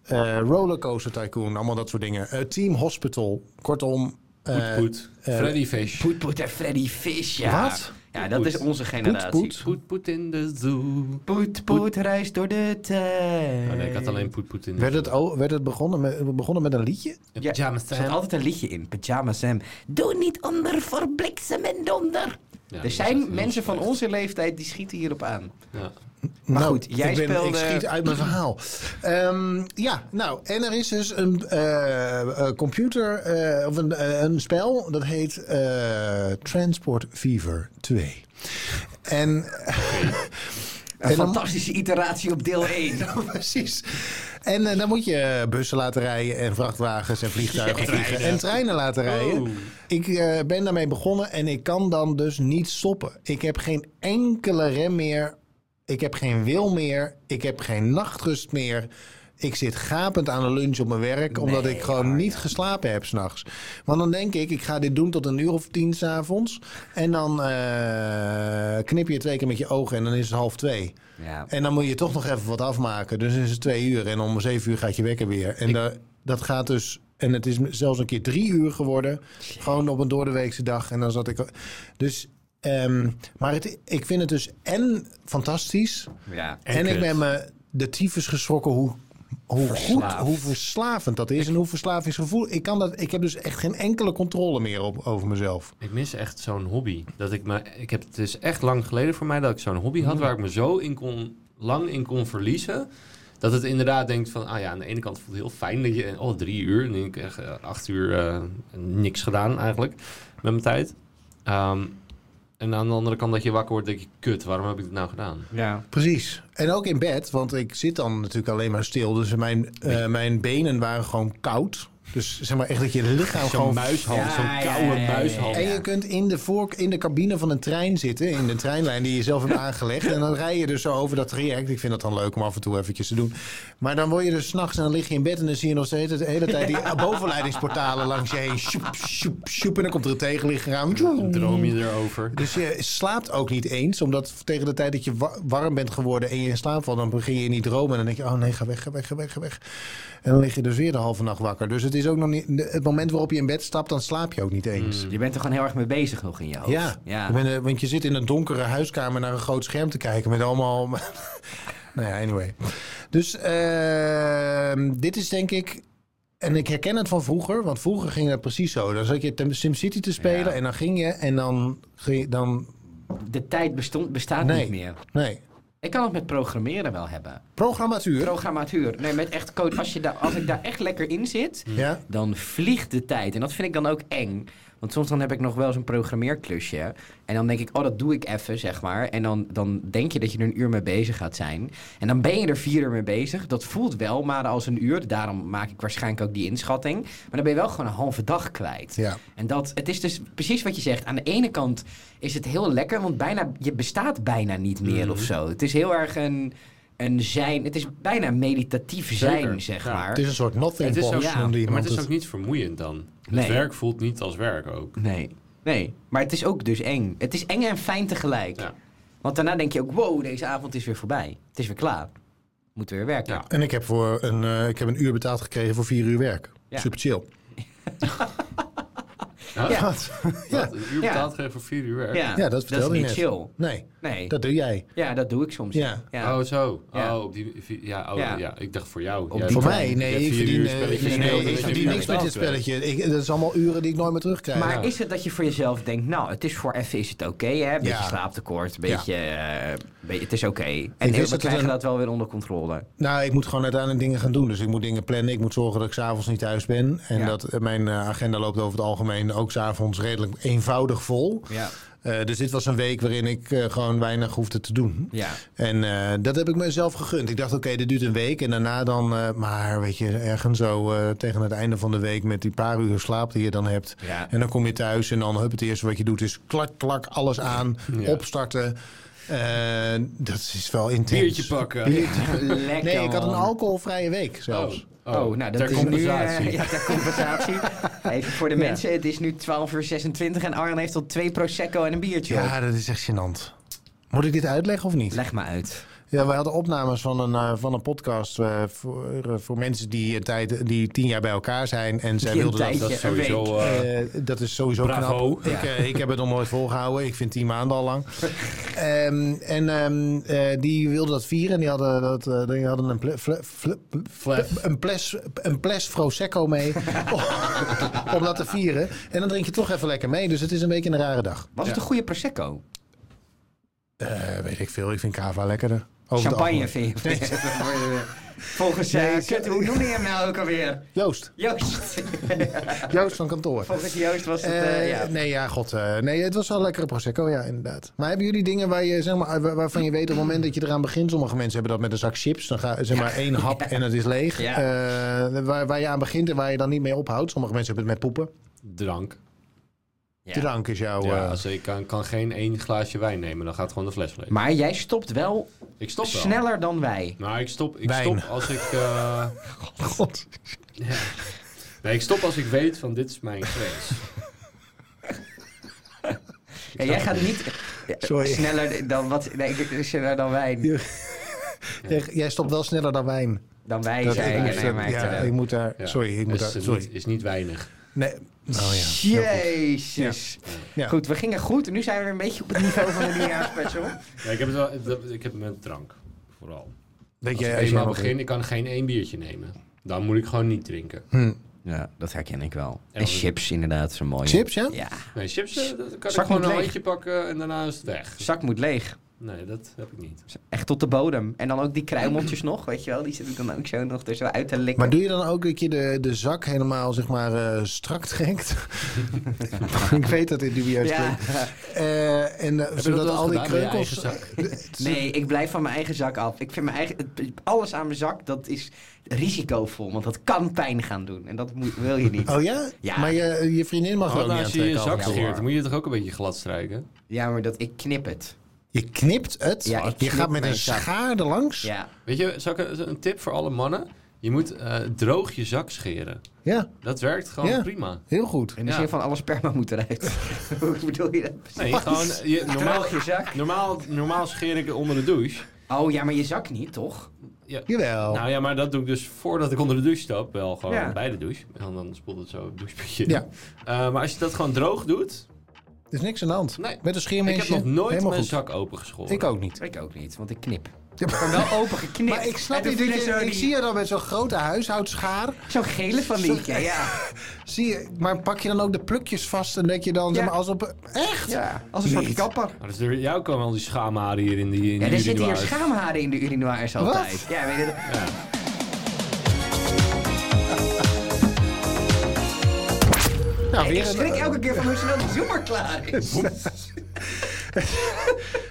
Speaker 3: eh, Rollercoaster Tycoon, allemaal dat soort dingen. Eh, Team Hospital, kortom. eh,
Speaker 2: goed.
Speaker 3: eh,
Speaker 2: Freddy Fish.
Speaker 1: Poet Poet en Freddy Fish, ja.
Speaker 3: Wat?
Speaker 1: Ja, dat is onze generatie.
Speaker 3: poet?
Speaker 2: Poet poet in de zoo.
Speaker 1: Poet, poet, reist door de tijd.
Speaker 2: Oh nee, ik had alleen poet poet in de
Speaker 3: Eh, Werd het, oh, werd het begonnen, met, begonnen met een liedje?
Speaker 1: Ja,
Speaker 2: Pyjama
Speaker 1: Er zat
Speaker 2: Sam.
Speaker 1: altijd een liedje in. Pyjama Sam. Doe niet onder voor bliksem en donder.
Speaker 2: Ja,
Speaker 1: er
Speaker 2: dat is echt
Speaker 1: zijn
Speaker 2: heel
Speaker 1: mensen van
Speaker 2: slecht.
Speaker 1: onze leeftijd die schieten hierop aan.
Speaker 2: Ja.
Speaker 3: Maar
Speaker 1: goed, jij
Speaker 3: Nou, ik ben, Ik
Speaker 1: speelde-
Speaker 3: schiet uit mijn verhaal. Ehm, ja, nou, en er is dus een eh, eh, computer, eh, of een, eh, een spel, dat heet eh, Transport Fever 2. En
Speaker 1: Een
Speaker 3: En dan-
Speaker 1: fantastische iteratie op deel 1.
Speaker 3: Precies. En eh, dan moet je bussen laten rijden en vrachtwagens en vliegtuigen vliegen en treinen laten rijden.
Speaker 2: Oh.
Speaker 3: Ik eh, ben daarmee begonnen en ik kan dan dus niet stoppen. Ik heb geen enkele rem meer. Ik heb geen wil meer. Ik heb geen nachtrust meer. Ik zit gapend aan de lunch op mijn werk, omdat
Speaker 1: Nee,
Speaker 3: ik gewoon
Speaker 1: Arjan.
Speaker 3: niet geslapen heb s'nachts. Want dan denk ik, ik ga dit doen tot een uur of tien s'avonds. En dan eh, knip je twee keer met je ogen en dan is het half twee.
Speaker 1: Ja.
Speaker 3: En dan moet je toch nog even wat afmaken. Dus is het twee uur en om zeven uur gaat je wekker weer. En da- dat gaat dus... En het is zelfs een keer drie uur geworden. Gewoon op een doordeweekse dag. En dan zat ik... Dus... ehm, maar het, ik vind het dus en fantastisch.
Speaker 1: ja.
Speaker 3: En, ik
Speaker 2: kut.
Speaker 3: ben me de tyfus geschrokken hoe... Hoe
Speaker 1: Verslaafd.
Speaker 3: goed, hoe verslavend dat is en hoe verslavingsgevoel. Ik, kan dat, ik heb dus echt geen enkele controle meer op, over mezelf.
Speaker 2: Ik mis echt zo'n hobby. Dat ik me, ik heb, het is echt lang geleden voor mij dat ik zo'n hobby had waar ik me zo in kon, lang in kon verliezen. Dat het inderdaad denkt van, ah ja, aan de ene kant voelt het heel fijn dat je, oh drie uur, en ik echt eh, acht uur eh, niks gedaan eigenlijk met mijn tijd. Ehm, en aan de andere kant dat je wakker wordt, denk je, kut, waarom heb ik dit nou gedaan?
Speaker 1: ja.
Speaker 3: Precies. En ook in bed, want ik zit dan natuurlijk alleen maar stil. Dus mijn, eh, mijn benen waren gewoon koud. Dus zeg maar echt dat je lichaam
Speaker 2: Zo'n
Speaker 3: gewoon...
Speaker 2: muishand,
Speaker 1: Ja, ja,
Speaker 2: zo'n koude
Speaker 1: ja, ja, ja.
Speaker 2: muishand.
Speaker 3: En je kunt in de, voor, in de cabine van een trein zitten, in de treinlijn die je zelf hebt aangelegd. En dan rij je dus zo over dat traject. Ik vind dat dan leuk om af en toe eventjes te doen. Maar dan word je dus s'nachts en dan lig je in bed en dan zie je nog steeds de hele tijd die bovenleidingsportalen langs je heen. Sjoep, sjoep, sjoep. En dan komt er een tegenligger aan.
Speaker 2: Dan droom je erover.
Speaker 3: Dus je slaapt ook niet eens, omdat tegen de tijd dat je wa- warm bent geworden en je in slaap valt, dan begin je in die dromen. En dan denk je, oh nee, ga weg, ga weg, ga weg, ga weg. En dan lig je dus weer de halve nacht wakker. Dus het is ook nog niet, het moment waarop je in bed stapt, dan slaap je ook niet eens.
Speaker 1: Je bent er gewoon heel erg mee bezig nog in je hoofd.
Speaker 3: Ja,
Speaker 1: Mm. ja.
Speaker 3: Ik ben, eh, want je zit in een donkere huiskamer naar een groot scherm te kijken met allemaal... nou ja, anyway. Dus ehm, dit is denk ik... En ik herken het van vroeger, want vroeger ging dat precies zo. Dan zat je Tem- SimCity te spelen
Speaker 1: Ja.
Speaker 3: en dan ging je en dan... ging je- dan
Speaker 1: De tijd bestond, bestaat
Speaker 3: Nee.
Speaker 1: niet meer.
Speaker 3: nee,
Speaker 1: Ik kan het met programmeren wel hebben.
Speaker 3: Programmatuur.
Speaker 1: Programmatuur. Nee, met echt code. Als, je daar, als ik daar echt lekker in zit,
Speaker 3: ja?
Speaker 1: dan vliegt de tijd. En dat vind ik dan ook eng. Want soms dan heb ik nog wel eens een programmeerklusje. En dan denk ik, oh, dat doe ik even, zeg maar. En dan, dan denk je dat je er een uur mee bezig gaat zijn. En dan ben je er vier uur mee bezig. Dat voelt wel maar als een uur. Daarom maak ik waarschijnlijk ook die inschatting. Maar dan ben je wel gewoon een halve dag kwijt.
Speaker 3: ja.
Speaker 1: En dat, het is dus precies wat je zegt. Aan de ene kant is het heel lekker, want bijna, je bestaat bijna niet meer
Speaker 2: Mhm.
Speaker 1: of zo. Het is heel erg een, een zijn. Het is bijna meditatief zijn,
Speaker 2: Zeker,
Speaker 1: zeg
Speaker 2: ja.
Speaker 1: maar.
Speaker 3: Het is een soort nothing
Speaker 2: Het is
Speaker 3: box,
Speaker 2: ook-
Speaker 1: ja,
Speaker 3: noemde
Speaker 2: Ja, maar
Speaker 3: iemand
Speaker 2: het is ook
Speaker 3: het.
Speaker 2: niet vermoeiend dan.
Speaker 1: Nee.
Speaker 2: Het werk voelt niet als werk ook.
Speaker 1: Nee, nee. Maar het is ook dus eng. Het is eng en fijn tegelijk.
Speaker 2: Ja.
Speaker 1: Want daarna denk je ook, wow, deze avond is weer voorbij. Het is weer klaar. Moeten weer werken.
Speaker 2: Ja.
Speaker 3: En ik heb, voor een, eh, ik heb een uur betaald gekregen voor vier uur werk.
Speaker 1: Ja.
Speaker 3: Super chill.
Speaker 2: Huh?
Speaker 1: Ja.
Speaker 3: Wat?
Speaker 2: Wat? Een uur betaald geven voor vier uur werk?
Speaker 3: Ja, dat vertelde je
Speaker 1: is niet
Speaker 3: net.
Speaker 1: chill.
Speaker 3: Nee,
Speaker 1: Nee,
Speaker 3: dat doe jij.
Speaker 1: ja, dat doe ik soms.
Speaker 3: Ja.
Speaker 1: Ja.
Speaker 2: Oh, zo.
Speaker 1: Ja.
Speaker 2: Oh, op die... vi- Ja, oh,
Speaker 1: Ja.
Speaker 2: ja. ik dacht voor jou.
Speaker 1: Op
Speaker 2: Jij
Speaker 1: die
Speaker 3: Voor
Speaker 2: hebt-
Speaker 3: mij,
Speaker 2: je
Speaker 3: nee,
Speaker 2: hebt
Speaker 3: ik
Speaker 2: vier uur
Speaker 3: verdien, eh, ik
Speaker 2: spelletje
Speaker 3: verdien,
Speaker 1: nee,
Speaker 2: gespeeld en dat je
Speaker 3: ik verdien
Speaker 2: weer
Speaker 3: niks met dit
Speaker 2: betaald werd.
Speaker 3: spelletje. Ik, dat is allemaal uren die ik nooit meer terugkrijg.
Speaker 1: Maar
Speaker 2: Ja.
Speaker 1: is het dat je voor jezelf denkt, nou, het is voor even is het oké, hè? Beetje
Speaker 3: Ja.
Speaker 1: slaaptekort,
Speaker 3: Ja.
Speaker 1: beetje, eh, beetje- het is oké. En
Speaker 3: wist
Speaker 1: we
Speaker 3: dat
Speaker 1: krijgen
Speaker 3: het een-
Speaker 1: dat wel weer onder controle.
Speaker 3: Nou, ik moet gewoon uiteindelijk dingen gaan doen. Dus ik moet dingen plannen. Ik moet zorgen dat ik s'avonds niet thuis ben. En
Speaker 1: Ja.
Speaker 3: dat eh, mijn eh, agenda loopt over het algemeen ook s'avonds redelijk eenvoudig vol.
Speaker 1: Ja,
Speaker 3: Eh, dus dit was een week waarin ik eh, gewoon weinig hoefde te doen.
Speaker 1: ja.
Speaker 3: En eh, dat heb ik mezelf gegund. Ik dacht, oké, dit duurt een week. En daarna dan, eh, maar weet je, ergens zo eh, tegen het einde van de week... met die paar uur slaap die je dan hebt.
Speaker 1: Ja.
Speaker 3: En dan kom je thuis en dan, hup, het eerste wat je doet is... klak, klak, alles aan,
Speaker 2: Ja.
Speaker 3: opstarten. Eh, dat is wel intens.
Speaker 2: Biertje pakken.
Speaker 1: Lekker,
Speaker 3: Nee, ik had een
Speaker 1: man.
Speaker 3: alcoholvrije week zelfs.
Speaker 1: Oh, nou, dat
Speaker 2: ter
Speaker 1: is
Speaker 2: compensatie.
Speaker 1: Nu, eh, ja, ter compensatie. Even voor de mensen, het is nu 12 uur 26 en Arjen heeft al twee Prosecco en een biertje op.
Speaker 3: Ja, dat is echt gênant. Moet ik dit uitleggen of niet?
Speaker 1: Leg maar uit.
Speaker 3: Ja, wij hadden opnames van een, eh, van een podcast eh, voor, eh, voor mensen die, eh, tijd, die tien jaar bij elkaar zijn. En zij
Speaker 1: Die een
Speaker 3: wilden
Speaker 1: tijdje.
Speaker 3: dat...
Speaker 2: Dat is sowieso...
Speaker 1: Een
Speaker 2: eh,
Speaker 3: Eh, dat is sowieso
Speaker 2: Bravo.
Speaker 3: knap. Ik,
Speaker 1: Ja.
Speaker 3: eh, ik heb het nog nooit volgehouden. Ik vind tien maanden al lang. Ehm, en ehm, eh, die wilden dat vieren. En die hadden, dat, eh, die hadden een, ple, fle- fle-
Speaker 2: Flef.
Speaker 3: een, ples, een ples Prosecco mee. om- om dat te vieren. En dan drink je toch even lekker mee. Dus het is een beetje een rare dag.
Speaker 1: Was het
Speaker 2: Ja.
Speaker 1: een goede Prosecco?
Speaker 3: Eh, weet ik veel. Ik vind cava lekkerder. Over het
Speaker 1: Champagne
Speaker 3: algemeen.
Speaker 1: vind je? Volgens, eh,
Speaker 3: Nee,
Speaker 1: kut, hoe noemde je hem nou ook alweer?
Speaker 3: Joost.
Speaker 1: Joost.
Speaker 3: Joost van kantoor.
Speaker 1: Volgens Joost was het, eh,
Speaker 3: Eh,
Speaker 1: ja.
Speaker 3: Nee, ja, god. eh, nee, het was wel lekkere prosecco, ja, inderdaad. Maar hebben jullie dingen waar je, zeg maar, waar- waarvan je weet op het moment dat je eraan begint... Sommige mensen hebben dat met een zak chips. Dan ga zeg maar één hap en het is leeg.
Speaker 1: Ja.
Speaker 3: Eh, waar, waar je aan begint en waar je dan niet mee ophoudt. Sommige mensen hebben het met poepen.
Speaker 2: Drank.
Speaker 1: Ja.
Speaker 3: Drank is jouw...
Speaker 2: Ja,
Speaker 3: eh,
Speaker 2: als ik kan, kan geen één glaasje wijn nemen, dan gaat gewoon de fles leeg.
Speaker 1: Maar jij stopt wel
Speaker 2: Ik stop wel.
Speaker 1: sneller dan wij.
Speaker 2: Nou, ik stop, ik
Speaker 3: Wijn.
Speaker 2: stop als ik... eh,
Speaker 3: god.
Speaker 2: nee, ik stop als ik weet van dit is mijn grens.
Speaker 1: Ja, jij gaat niet ja,
Speaker 3: Sorry.
Speaker 1: sneller dan, wat, nee, ik- sneller dan wij.
Speaker 3: Jij, jij stopt wel sneller dan wijn.
Speaker 1: Dan wij
Speaker 3: Dat-
Speaker 1: zijn.
Speaker 3: ik, moest
Speaker 1: Nee,
Speaker 3: dat-
Speaker 1: maar,
Speaker 3: ja,
Speaker 1: eh,
Speaker 3: ik moet daar...
Speaker 2: Ja.
Speaker 3: Sorry, ik moet
Speaker 2: Dus
Speaker 3: daar...
Speaker 2: het
Speaker 3: Sorry.
Speaker 2: Niet, is niet weinig.
Speaker 3: Nee. Oh ja. heel goed.
Speaker 1: Jezus.
Speaker 3: Ja.
Speaker 1: Goed, we gingen goed. Nu zijn we een beetje op het niveau van de nieuwjaarspecial.
Speaker 2: Ja, ik, heb het wel, dat- ik heb het met drank, vooral.
Speaker 3: Weet
Speaker 2: Als ik
Speaker 3: jij, als jij
Speaker 2: eenmaal
Speaker 3: nog-
Speaker 2: begin, ik kan geen één biertje nemen. Dan moet ik gewoon niet drinken.
Speaker 3: Hm.
Speaker 1: Ja, dat herken ik wel.
Speaker 2: En als-
Speaker 1: inderdaad, zo'n mooie.
Speaker 3: Chips, ja?
Speaker 1: Ja.
Speaker 2: Nee, chips eh, dat kan
Speaker 1: Zak
Speaker 2: ik gewoon
Speaker 1: moet
Speaker 2: een
Speaker 1: leeg.
Speaker 2: handje pakken en daarna is het weg.
Speaker 1: Zak moet leeg.
Speaker 2: Nee, dat heb ik niet.
Speaker 1: Echt tot de bodem. En dan ook die kruimeltjes nog, weet je wel. Die zit ik dan ook zo nog er zo uit te likken.
Speaker 3: Maar doe je dan ook dat je de, de zak helemaal zeg maar eh, strak trekt? ik weet dat dit dubieus
Speaker 1: ja.
Speaker 3: klinkt. Eh, en eh,
Speaker 2: je dat
Speaker 3: zodat
Speaker 2: wel
Speaker 3: al die
Speaker 2: gedaan bij je
Speaker 3: kreukels...
Speaker 1: Nee, ik blijf van mijn eigen zak af. Ik vind mijn eigen... Alles aan mijn zak, dat is risicovol. Want dat kan pijn gaan doen. En dat moet, wil je niet.
Speaker 3: Oh ja?
Speaker 1: Ja.
Speaker 3: Maar je, je vriendin mag er ook
Speaker 2: Want
Speaker 3: niet
Speaker 2: Oh, nou, als je je
Speaker 3: aantrekken.
Speaker 2: zak
Speaker 3: af en toe.
Speaker 2: scheert, moet je toch ook een beetje glad strijken?
Speaker 1: Ja, maar dat, ik knip het.
Speaker 3: Je knipt het.
Speaker 1: Ja, ik
Speaker 3: je
Speaker 1: knip
Speaker 3: gaat met
Speaker 1: mijn
Speaker 3: een
Speaker 1: zak.
Speaker 3: schaar er langs. Ja.
Speaker 1: Ja.
Speaker 2: Weet je, zal ik een, een tip voor alle mannen? Je moet eh, droog je zak scheren. Dat werkt gewoon
Speaker 3: Ja.
Speaker 2: prima.
Speaker 3: heel goed.
Speaker 1: In de
Speaker 2: Ja.
Speaker 1: zin van alle sperma moet eruit. Hoe bedoel je dat?
Speaker 2: Nee, gewoon je, normaal,
Speaker 1: Droog je zak.
Speaker 2: normaal, normaal scheer ik onder de douche.
Speaker 1: Oh ja, maar je zak niet, toch?
Speaker 2: Ja.
Speaker 3: Jawel.
Speaker 2: Nou ja, maar dat doe ik dus voordat ik onder de douche stap. Wel gewoon
Speaker 1: Ja.
Speaker 2: bij de douche. En dan spoelt het zo het doucheputje. in.
Speaker 3: Ja.
Speaker 2: Eh, maar als je dat gewoon droog doet.
Speaker 3: er is niks aan de hand.
Speaker 2: Nee.
Speaker 3: Met een
Speaker 2: Ik
Speaker 3: scheermesje.
Speaker 2: heb nog nooit
Speaker 3: helemaal
Speaker 2: mijn
Speaker 3: goed.
Speaker 2: zak opengeschoren.
Speaker 3: Ik ook niet.
Speaker 1: Ik ook niet, want ik knip. Maar wel open geknipt.
Speaker 3: Maar ik snap
Speaker 1: En toen
Speaker 3: niet, dat
Speaker 1: vielen
Speaker 3: je-
Speaker 1: zo
Speaker 3: ik
Speaker 1: die-
Speaker 3: zie je dan met zo'n grote huishoudschaar.
Speaker 1: Zo'n gele van die. Ja, ja.
Speaker 3: Zie je, maar pak je dan ook de plukjes vast en dat je dan, zeg maar, als op... Echt?
Speaker 1: ja. Als een soort
Speaker 3: Niet.
Speaker 1: kapper.
Speaker 2: Maar dus door jou komen al die schaamharen hier in die in
Speaker 1: Ja,
Speaker 2: die
Speaker 1: er zitten hier
Speaker 2: urinoirs.
Speaker 1: schaamharen in de urinoirs altijd. Ja, weet je dat?
Speaker 3: Nou,
Speaker 1: Ik
Speaker 3: weer een-
Speaker 1: schrik elke keer van hoe snel de zoemer klaar is.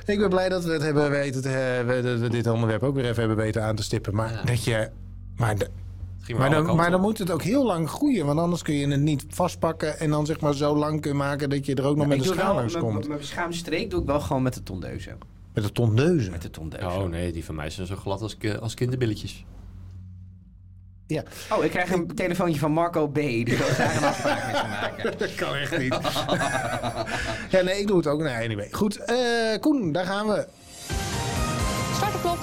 Speaker 3: Ik ben blij dat we het hebben weten, te- eh, we- dat we dit onderwerp ook weer even hebben weten aan te stippen. Maar dat je. Maar, de-
Speaker 2: Het ging
Speaker 3: maar,
Speaker 2: alle
Speaker 3: dan,
Speaker 2: kanten
Speaker 3: maar dan
Speaker 2: op.
Speaker 3: moet het ook heel lang groeien. Want anders kun je het niet vastpakken en dan zeg maar zo lang kunnen maken dat je er ook nog met
Speaker 1: Ik
Speaker 3: een
Speaker 1: doe
Speaker 3: schaal
Speaker 1: wel,
Speaker 3: langs komt.
Speaker 1: mijn, mijn schaamstreek doe ik wel gewoon met de tondeuzen.
Speaker 3: Met de tondeuzen.
Speaker 1: Met de tondeuzen.
Speaker 2: Oh nee, die van mij zijn zo glad als, ki- als kinderbilletjes.
Speaker 3: Ja.
Speaker 1: Oh, ik krijg een telefoontje van Marco B. Die wil daar een afspraak mee te maken.
Speaker 3: Dat kan echt niet. ja, nee, ik doe het ook. Nee, anyway. Goed, eh, Koen, daar gaan we.
Speaker 4: Start de klok.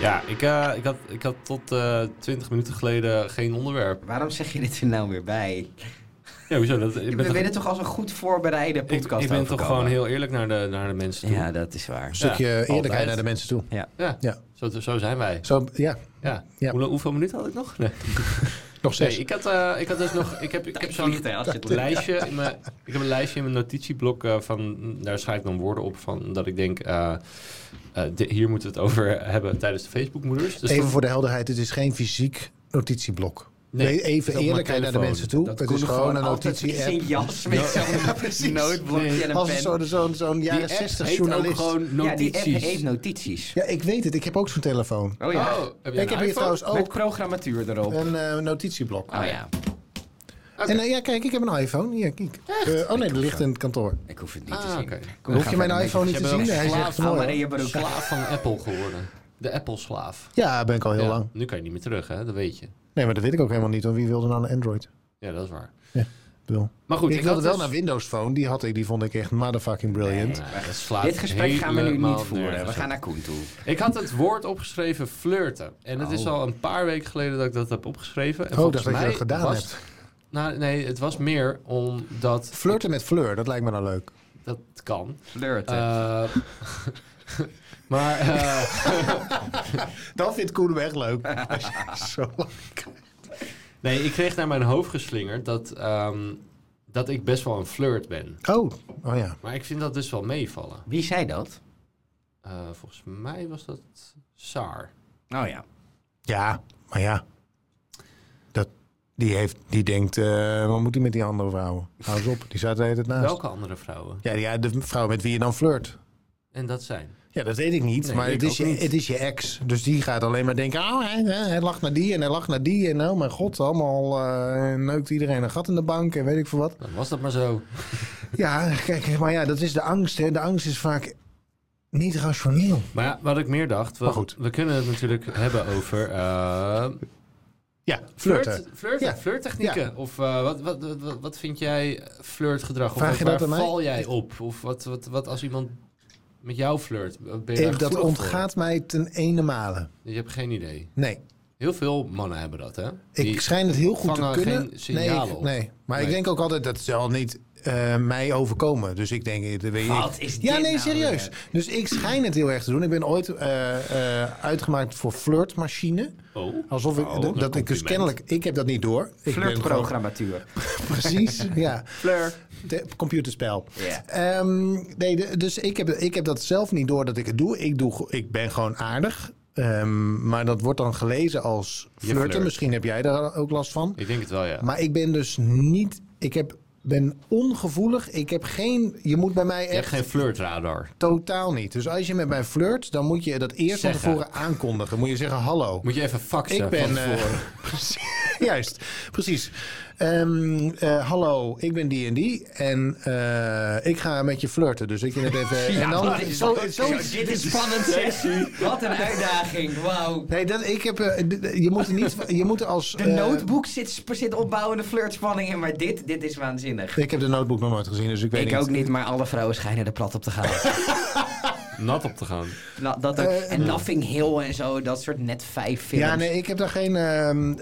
Speaker 2: Ja, ik, eh, ik, had, ik had tot eh 20 minuten geleden geen onderwerp.
Speaker 1: Waarom zeg je dit er nou weer bij?
Speaker 2: Ja, hoezo? Dat, ik ben
Speaker 1: We
Speaker 2: toch, ik,
Speaker 1: willen toch als een goed voorbereide
Speaker 2: ik
Speaker 1: podcast
Speaker 2: ben toch
Speaker 1: overkomen?
Speaker 2: gewoon heel eerlijk naar de, naar de mensen toe.
Speaker 1: Ja,
Speaker 2: Ja,
Speaker 1: dat is waar.
Speaker 3: Een stukje eerlijkheid
Speaker 2: altijd.
Speaker 3: naar de mensen toe. Ja.
Speaker 2: Zo, zo zijn wij.
Speaker 3: Zo, ja,
Speaker 2: Ja.
Speaker 3: Ja.
Speaker 2: Hoe, hoeveel minuten had ik nog? Nee.
Speaker 3: nog
Speaker 2: Nee,
Speaker 3: zes.
Speaker 2: ik had, eh, ik had dus nog. Ik heb, ik heb zo'n
Speaker 1: vliegt, hè, als je het
Speaker 2: lijstje. In mijn, ik heb een lijstje in mijn notitieblok eh, van. Daar schrijf ik dan woorden op van dat ik denk. eh, eh, di- hier moeten we het over hebben tijdens de Facebookmoeders. Dus
Speaker 3: Even voor de helderheid, het is geen fysiek notitieblok.
Speaker 2: Nee,
Speaker 3: Nee,
Speaker 2: het is
Speaker 3: even
Speaker 2: op mijn
Speaker 3: eerlijkheid naar de
Speaker 2: telefoon.
Speaker 3: mensen toe.
Speaker 2: Dat
Speaker 3: het
Speaker 1: Koen
Speaker 3: is gewoon een
Speaker 1: altijd
Speaker 3: notitie-app.
Speaker 1: in zijn jas met zo'n noodblokje en een
Speaker 3: Als een
Speaker 1: pen.
Speaker 3: zo'n zo'n zo'n
Speaker 2: die
Speaker 3: jaren
Speaker 2: app
Speaker 3: 60
Speaker 2: heet
Speaker 3: journalist.
Speaker 2: ook gewoon
Speaker 1: Ja, die app
Speaker 2: notities.
Speaker 1: heeft notities.
Speaker 3: Ja, ik weet het. Ik heb ook zo'n telefoon.
Speaker 1: Oh ja.
Speaker 2: Oh, heb jij
Speaker 3: ik
Speaker 2: een
Speaker 3: heb
Speaker 2: iPhone?
Speaker 3: hier
Speaker 2: Ah,
Speaker 3: trouwens
Speaker 1: Met
Speaker 3: ook
Speaker 1: programmatuur erop.
Speaker 3: een eh, notitieblok.
Speaker 1: Oh ja,
Speaker 3: En eh, ja, kijk, ik heb een iPhone. Hier, kijk. Eh, oh nee, die ligt in het kantoor.
Speaker 1: ik hoef het niet te
Speaker 2: Ah,
Speaker 1: zien.
Speaker 2: oké.
Speaker 1: Kom,
Speaker 3: Hoef
Speaker 1: we
Speaker 3: je
Speaker 1: gaan
Speaker 3: mijn
Speaker 1: verder.
Speaker 3: iPhone niet te
Speaker 2: bent
Speaker 3: zien?
Speaker 2: wel
Speaker 3: Hij is
Speaker 1: Slaaf
Speaker 3: echt
Speaker 1: aan
Speaker 3: mooi.
Speaker 1: Maria
Speaker 3: hoor.
Speaker 1: Barouk.
Speaker 2: Slaaf van Apple geworden. De Apple-slaaf.
Speaker 3: Ja, ben ik al heel
Speaker 2: Ja,
Speaker 3: lang.
Speaker 2: Nu kan je niet meer terug, hè? Dat weet je.
Speaker 3: Nee, maar dat weet ik ook helemaal niet. Want wie wilde nou een Android?
Speaker 2: Ja, dat is waar.
Speaker 3: Ik bedoel,
Speaker 2: Maar goed,
Speaker 3: ik, wilde
Speaker 2: had
Speaker 3: wel
Speaker 2: dus-
Speaker 3: naar Windows Phone. Die had ik, die vond ik echt motherfucking brilliant. Oh,
Speaker 2: Nee, dat slaat
Speaker 1: Dit gesprek gaan we nu niet
Speaker 2: helemaal
Speaker 1: voeren. We
Speaker 2: nergens
Speaker 1: gaan
Speaker 2: op.
Speaker 1: naar Koen toe.
Speaker 2: Ik had het woord opgeschreven flirten. En het is
Speaker 1: Oh.
Speaker 2: al een paar weken geleden dat ik dat heb opgeschreven. En
Speaker 3: Oh,
Speaker 2: volgens
Speaker 3: dat dat je
Speaker 2: mij
Speaker 3: dat gedaan
Speaker 2: was-
Speaker 3: hebt.
Speaker 2: Nou, nee, het was meer omdat...
Speaker 3: Flirten met Fleur, dat lijkt me nou leuk.
Speaker 2: Dat kan.
Speaker 1: Flirten.
Speaker 2: Eh, maar eh,
Speaker 3: Dat vindt Koen hem echt leuk. Zo.
Speaker 2: nee, ik kreeg naar mijn hoofd geslingerd dat, ehm, dat ik best wel een flirt ben.
Speaker 3: Oh, oh ja.
Speaker 2: Maar ik vind dat dus wel meevallen.
Speaker 1: Wie zei dat?
Speaker 2: Eh, volgens mij was dat Saar.
Speaker 1: Oh ja.
Speaker 3: Ja, maar ja. Dat, die, heeft, die denkt, eh, wat moet hij met die andere vrouwen? Hou eens op, die zat de hele tijd naast.
Speaker 2: Welke andere vrouwen?
Speaker 3: Ja, ja, de vrouw met wie je dan flirt.
Speaker 2: En dat zijn.
Speaker 3: Ja, dat weet ik niet,
Speaker 2: Nee,
Speaker 3: maar
Speaker 2: ik
Speaker 3: het is,
Speaker 2: ook
Speaker 3: je,
Speaker 2: niet.
Speaker 3: het is je ex. Dus die gaat alleen maar denken, oh, hij, hij- hij lacht naar die en hij lacht naar die. En oh mijn god, allemaal eh, neukt iedereen een gat in de bank en weet ik veel wat.
Speaker 2: Dan was dat maar zo.
Speaker 3: Ja, kijk, maar ja, dat is de angst. Hè. De angst is vaak niet rationeel.
Speaker 2: Maar ja, wat ik meer dacht, we,
Speaker 3: Maar goed.
Speaker 2: we kunnen het natuurlijk hebben over eh,
Speaker 3: Ja, flirten.
Speaker 2: flirt, flirt,
Speaker 3: Ja.
Speaker 2: flirttechnieken. Of eh, wat, wat, wat, wat vind jij flirtgedrag? Of
Speaker 3: Vraag
Speaker 2: wat-
Speaker 3: je dat
Speaker 2: waar
Speaker 3: aan mij?
Speaker 2: val jij op? Of wat, wat, wat als iemand met jou flirt? Ben je daar
Speaker 3: Eh, Dat
Speaker 2: gevoelig voor?
Speaker 3: ontgaat mij ten ene male.
Speaker 2: Je hebt geen idee.
Speaker 3: Nee.
Speaker 2: Heel veel mannen hebben dat, hè?
Speaker 3: Ik
Speaker 2: Die-
Speaker 3: schijn het heel goed te
Speaker 2: vangen
Speaker 3: kunnen.
Speaker 2: geen signalen
Speaker 3: nee, ik-
Speaker 2: op.
Speaker 3: nee, maar ik
Speaker 2: Nee.
Speaker 3: denk ook altijd dat zal niet eh, mij overkomen. Dus ik denk, dat weet
Speaker 1: Wat
Speaker 3: ik.
Speaker 1: is dit
Speaker 3: ja, nee,
Speaker 1: nou
Speaker 3: serieus. Dus ik schijn het heel erg te doen. Ik ben ooit eh, eh, uitgemaakt voor flirtmachine.
Speaker 2: Oh.
Speaker 3: Alsof ik
Speaker 2: Oh,
Speaker 3: dat, dat ik dus
Speaker 2: compliment.
Speaker 3: kennelijk, ik heb dat niet door. Ik ben gewoon-
Speaker 1: Flirtprogrammatuur.
Speaker 3: Precies, ja.
Speaker 1: Flirt.
Speaker 3: De- computerspel.
Speaker 1: Ja.
Speaker 3: Ehm, nee, de- dus ik heb, ik heb dat zelf niet door dat ik het doe. Ik, doe, go- ik ben gewoon aardig. Ehm, maar dat wordt dan gelezen als flirten.
Speaker 2: flirt.
Speaker 3: Misschien heb jij daar ook last van.
Speaker 2: Ik denk het wel, ja.
Speaker 3: Maar ik ben dus niet. Ik heb, ben ongevoelig. Ik heb geen. Je moet bij mij
Speaker 2: je hebt
Speaker 3: echt
Speaker 2: geen flirtradar.
Speaker 3: totaal niet. Dus als je met mij flirt, dan moet je dat eerst
Speaker 2: Zeggen.
Speaker 3: van tevoren aankondigen. Moet je zeggen: hallo.
Speaker 2: Moet je even faxen
Speaker 3: Ik ben.
Speaker 2: van
Speaker 3: eh,
Speaker 2: tevoren.
Speaker 3: precies- juist, precies. Ehm, eh, hallo, ik ben die en die. En eh, ik ga met je flirten. Dus ik vind het even. en dan, zo, zo,
Speaker 1: dit is spannend, zeg. Wat een uitdaging, wauw.
Speaker 3: nee, dat, ik heb. eh, d- d- je moet er niet. Je moet er als.
Speaker 1: De
Speaker 3: eh,
Speaker 1: notebook zit, zit opbouwende flirtspanning in, maar dit, dit is waanzinnig.
Speaker 3: ik heb de notebook nog nooit gezien, dus ik weet
Speaker 1: Ik
Speaker 3: niet.
Speaker 1: ook niet, maar alle vrouwen schijnen er plat op te gaan.
Speaker 2: nat op te gaan.
Speaker 1: Nou, dat ook.
Speaker 3: Eh,
Speaker 1: en Nothing Hill en zo, dat soort net vijf films.
Speaker 3: Ja, nee, ik heb daar geen. ehm,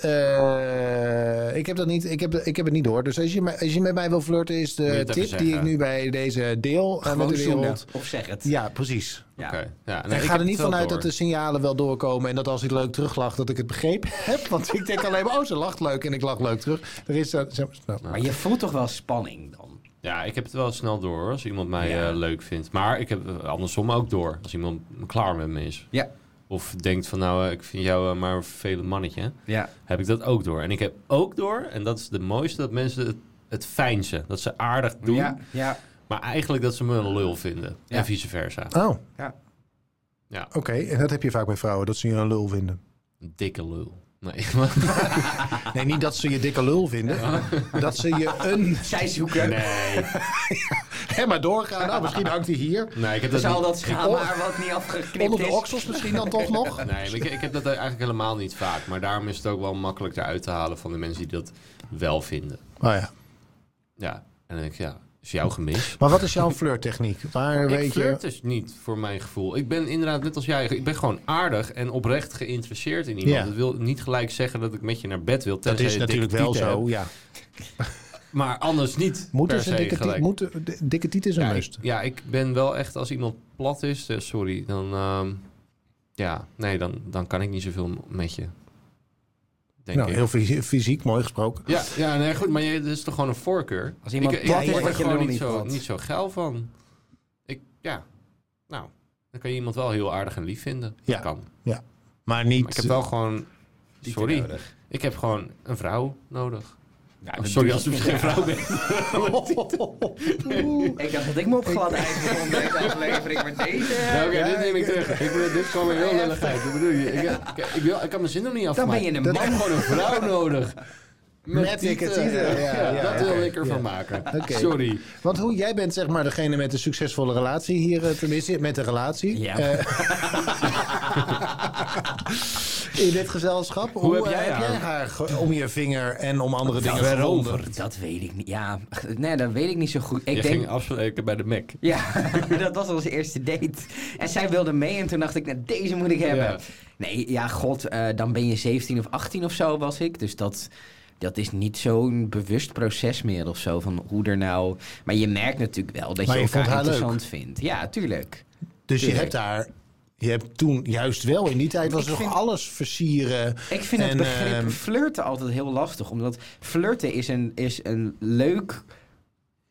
Speaker 3: eh, ik heb dat niet. Ik heb, ik heb het niet door. Dus als je, me- als je met mij wil flirten, is
Speaker 2: Moet je
Speaker 3: de
Speaker 2: het even
Speaker 3: tip die
Speaker 2: zeggen.
Speaker 3: ik nu bij deze deel aan met
Speaker 1: Gewoon
Speaker 3: de
Speaker 1: zoenen.
Speaker 3: wereld.
Speaker 1: Of zeg het.
Speaker 3: Ja, precies.
Speaker 1: Ja.
Speaker 2: Oké. Ja,
Speaker 3: ik ga er niet vanuit dat de
Speaker 2: is.
Speaker 3: signalen wel doorkomen en dat als ik leuk teruglacht, dat ik het begrepen heb. Want ik denk alleen maar, oh, ze lacht leuk en ik lach leuk terug. Er is dat. zeg maar, nou.
Speaker 1: Maar je voelt toch wel spanning dan?
Speaker 2: Ja, ik heb het wel snel door hoor, als iemand mij
Speaker 1: Ja.
Speaker 2: eh, leuk vindt. Maar ik heb eh, andersom ook door, als iemand klaar met me is.
Speaker 1: Ja.
Speaker 2: Of denkt van nou, eh, ik vind jou eh, maar een vervelend mannetje.
Speaker 1: Ja.
Speaker 2: Heb ik dat ook door. En ik heb ook door, en dat is de mooiste, dat mensen het, het fijnsen. Dat ze aardig doen,
Speaker 1: Ja. ja.
Speaker 2: maar eigenlijk dat ze me een lul vinden.
Speaker 1: Ja.
Speaker 2: En vice versa.
Speaker 3: Oh,
Speaker 1: Ja.
Speaker 2: Ja,
Speaker 3: oké. En dat heb je vaak bij vrouwen, dat ze je een lul vinden.
Speaker 2: een dikke lul. Nee, maar-
Speaker 3: Nee, niet dat ze je dikke lul vinden. Dat ze je een...
Speaker 1: Zij zoeken.
Speaker 2: nee.
Speaker 3: Hé, maar doorgaan. Nou, misschien hangt hij hier.
Speaker 2: nee ik heb dat
Speaker 1: Dus al
Speaker 2: niet-
Speaker 1: dat schaamhaar
Speaker 3: Oh.
Speaker 1: wat niet afgeknipt
Speaker 3: Onder de
Speaker 1: is.
Speaker 3: oksels misschien dan toch nog. Oh
Speaker 2: Nee, maar ik, ik heb dat eigenlijk helemaal niet vaak. Maar daarom is het ook wel makkelijk eruit te halen van de mensen die dat wel vinden.
Speaker 3: Oh ja.
Speaker 2: Ja, en dan denk ik, ja, is jouw gemis.
Speaker 3: Maar wat is jouw flirttechniek? Waar
Speaker 2: ik
Speaker 3: weet je...
Speaker 2: flirt dus niet, voor mijn gevoel. Ik ben inderdaad, net als jij, ik ben gewoon aardig en oprecht geïnteresseerd in iemand.
Speaker 3: Ja.
Speaker 2: Dat wil niet gelijk zeggen dat ik met je naar bed wil.
Speaker 3: Dat
Speaker 2: tenzij
Speaker 3: is
Speaker 2: je dikke
Speaker 3: natuurlijk wel
Speaker 2: tieten
Speaker 3: zo,
Speaker 2: hebt.
Speaker 3: ja.
Speaker 2: Maar anders niet
Speaker 3: Moeten
Speaker 2: per
Speaker 3: ze
Speaker 2: se
Speaker 3: dikke, tiet,
Speaker 2: gelijk.
Speaker 3: moeten, di- dikke tiet is een
Speaker 2: ja, ik,
Speaker 3: must.
Speaker 2: ja, ik ben wel echt, als iemand plat is, eh, sorry, dan... ehm, ja, nee, dan, dan kan ik niet zoveel met je. Denk
Speaker 3: Nou,
Speaker 2: ik.
Speaker 3: heel fys- fysiek, mooi gesproken.
Speaker 2: Ja, ja nee, goed, maar je, dat is toch gewoon een voorkeur?
Speaker 1: Als iemand
Speaker 2: ik,
Speaker 1: plat
Speaker 2: ik,
Speaker 1: is,
Speaker 2: word
Speaker 1: word
Speaker 2: er
Speaker 1: je
Speaker 2: gewoon
Speaker 1: lul
Speaker 2: niet
Speaker 1: niet
Speaker 2: zo,
Speaker 1: plat.
Speaker 2: niet zo geil van. Ik, ja, nou, dan kan je iemand wel heel aardig en lief vinden.
Speaker 3: Ja. eh,
Speaker 2: Kan.
Speaker 3: Maar
Speaker 2: Maar ik
Speaker 3: niet...
Speaker 2: heb wel gewoon,
Speaker 1: Niet
Speaker 2: sorry,
Speaker 1: nodig.
Speaker 2: ik heb gewoon een vrouw nodig.
Speaker 1: Ja,
Speaker 2: Oh,
Speaker 1: dat
Speaker 2: sorry
Speaker 1: doe
Speaker 2: als
Speaker 1: je
Speaker 2: u
Speaker 1: niet.
Speaker 2: geen vrouw bent.
Speaker 1: Ik dacht dat ik me op gladde ijs bevond deze aflevering, maar
Speaker 2: Ja,
Speaker 1: deze...
Speaker 2: Oké, dit neem ik terug. Ik bedoel, dit kwam weer heel lullig uit. Wat bedoel je? Ik, ik, ik, wil, ik kan mijn zin nog niet
Speaker 1: Dan ben
Speaker 2: afmaken.
Speaker 1: je een
Speaker 2: Ik heb
Speaker 1: man.
Speaker 2: gewoon een vrouw nodig.
Speaker 3: Met dikke
Speaker 2: tieten.
Speaker 3: tieten, ja,
Speaker 2: Ja,
Speaker 3: ja,
Speaker 2: dat wil
Speaker 3: oké,
Speaker 2: ik ervan
Speaker 3: ja.
Speaker 2: maken.
Speaker 3: Oké.
Speaker 2: Sorry.
Speaker 3: Want hoe jij bent zeg maar degene met de succesvolle relatie hier, eh, tenminste met de relatie
Speaker 1: Ja.
Speaker 3: eh, in dit gezelschap. Hoe,
Speaker 2: heb
Speaker 3: eh,
Speaker 2: jij haar?
Speaker 3: haar ge- om je vinger en om andere dingen
Speaker 2: waarom?
Speaker 3: gevonden?
Speaker 1: Dat weet ik niet. Ja, nee, dat weet ik niet zo goed. Ik
Speaker 2: je
Speaker 1: denk...
Speaker 2: ging afspreken bij de Mac.
Speaker 1: Ja, dat was onze eerste date. En zij wilde mee en toen dacht ik, nou, deze moet ik hebben.
Speaker 2: Ja.
Speaker 1: Nee, ja, god, eh, dan ben je 17 of 18 of zo was ik. Dus dat, dat is niet zo'n bewust proces meer of zo van hoe er nou... Maar je merkt natuurlijk wel dat
Speaker 3: Maar
Speaker 1: je
Speaker 3: je vond
Speaker 1: elkaar
Speaker 3: haar leuk.
Speaker 1: interessant vindt. Ja, tuurlijk.
Speaker 3: Dus je
Speaker 1: Tuurlijk.
Speaker 3: hebt haar. Je hebt toen juist wel in die tijd was
Speaker 1: Ik
Speaker 3: nog
Speaker 1: vind-
Speaker 3: alles versieren.
Speaker 1: Ik vind het
Speaker 3: En,
Speaker 1: begrip
Speaker 3: ehm,
Speaker 1: flirten altijd heel lastig. Omdat flirten is een, is een leuk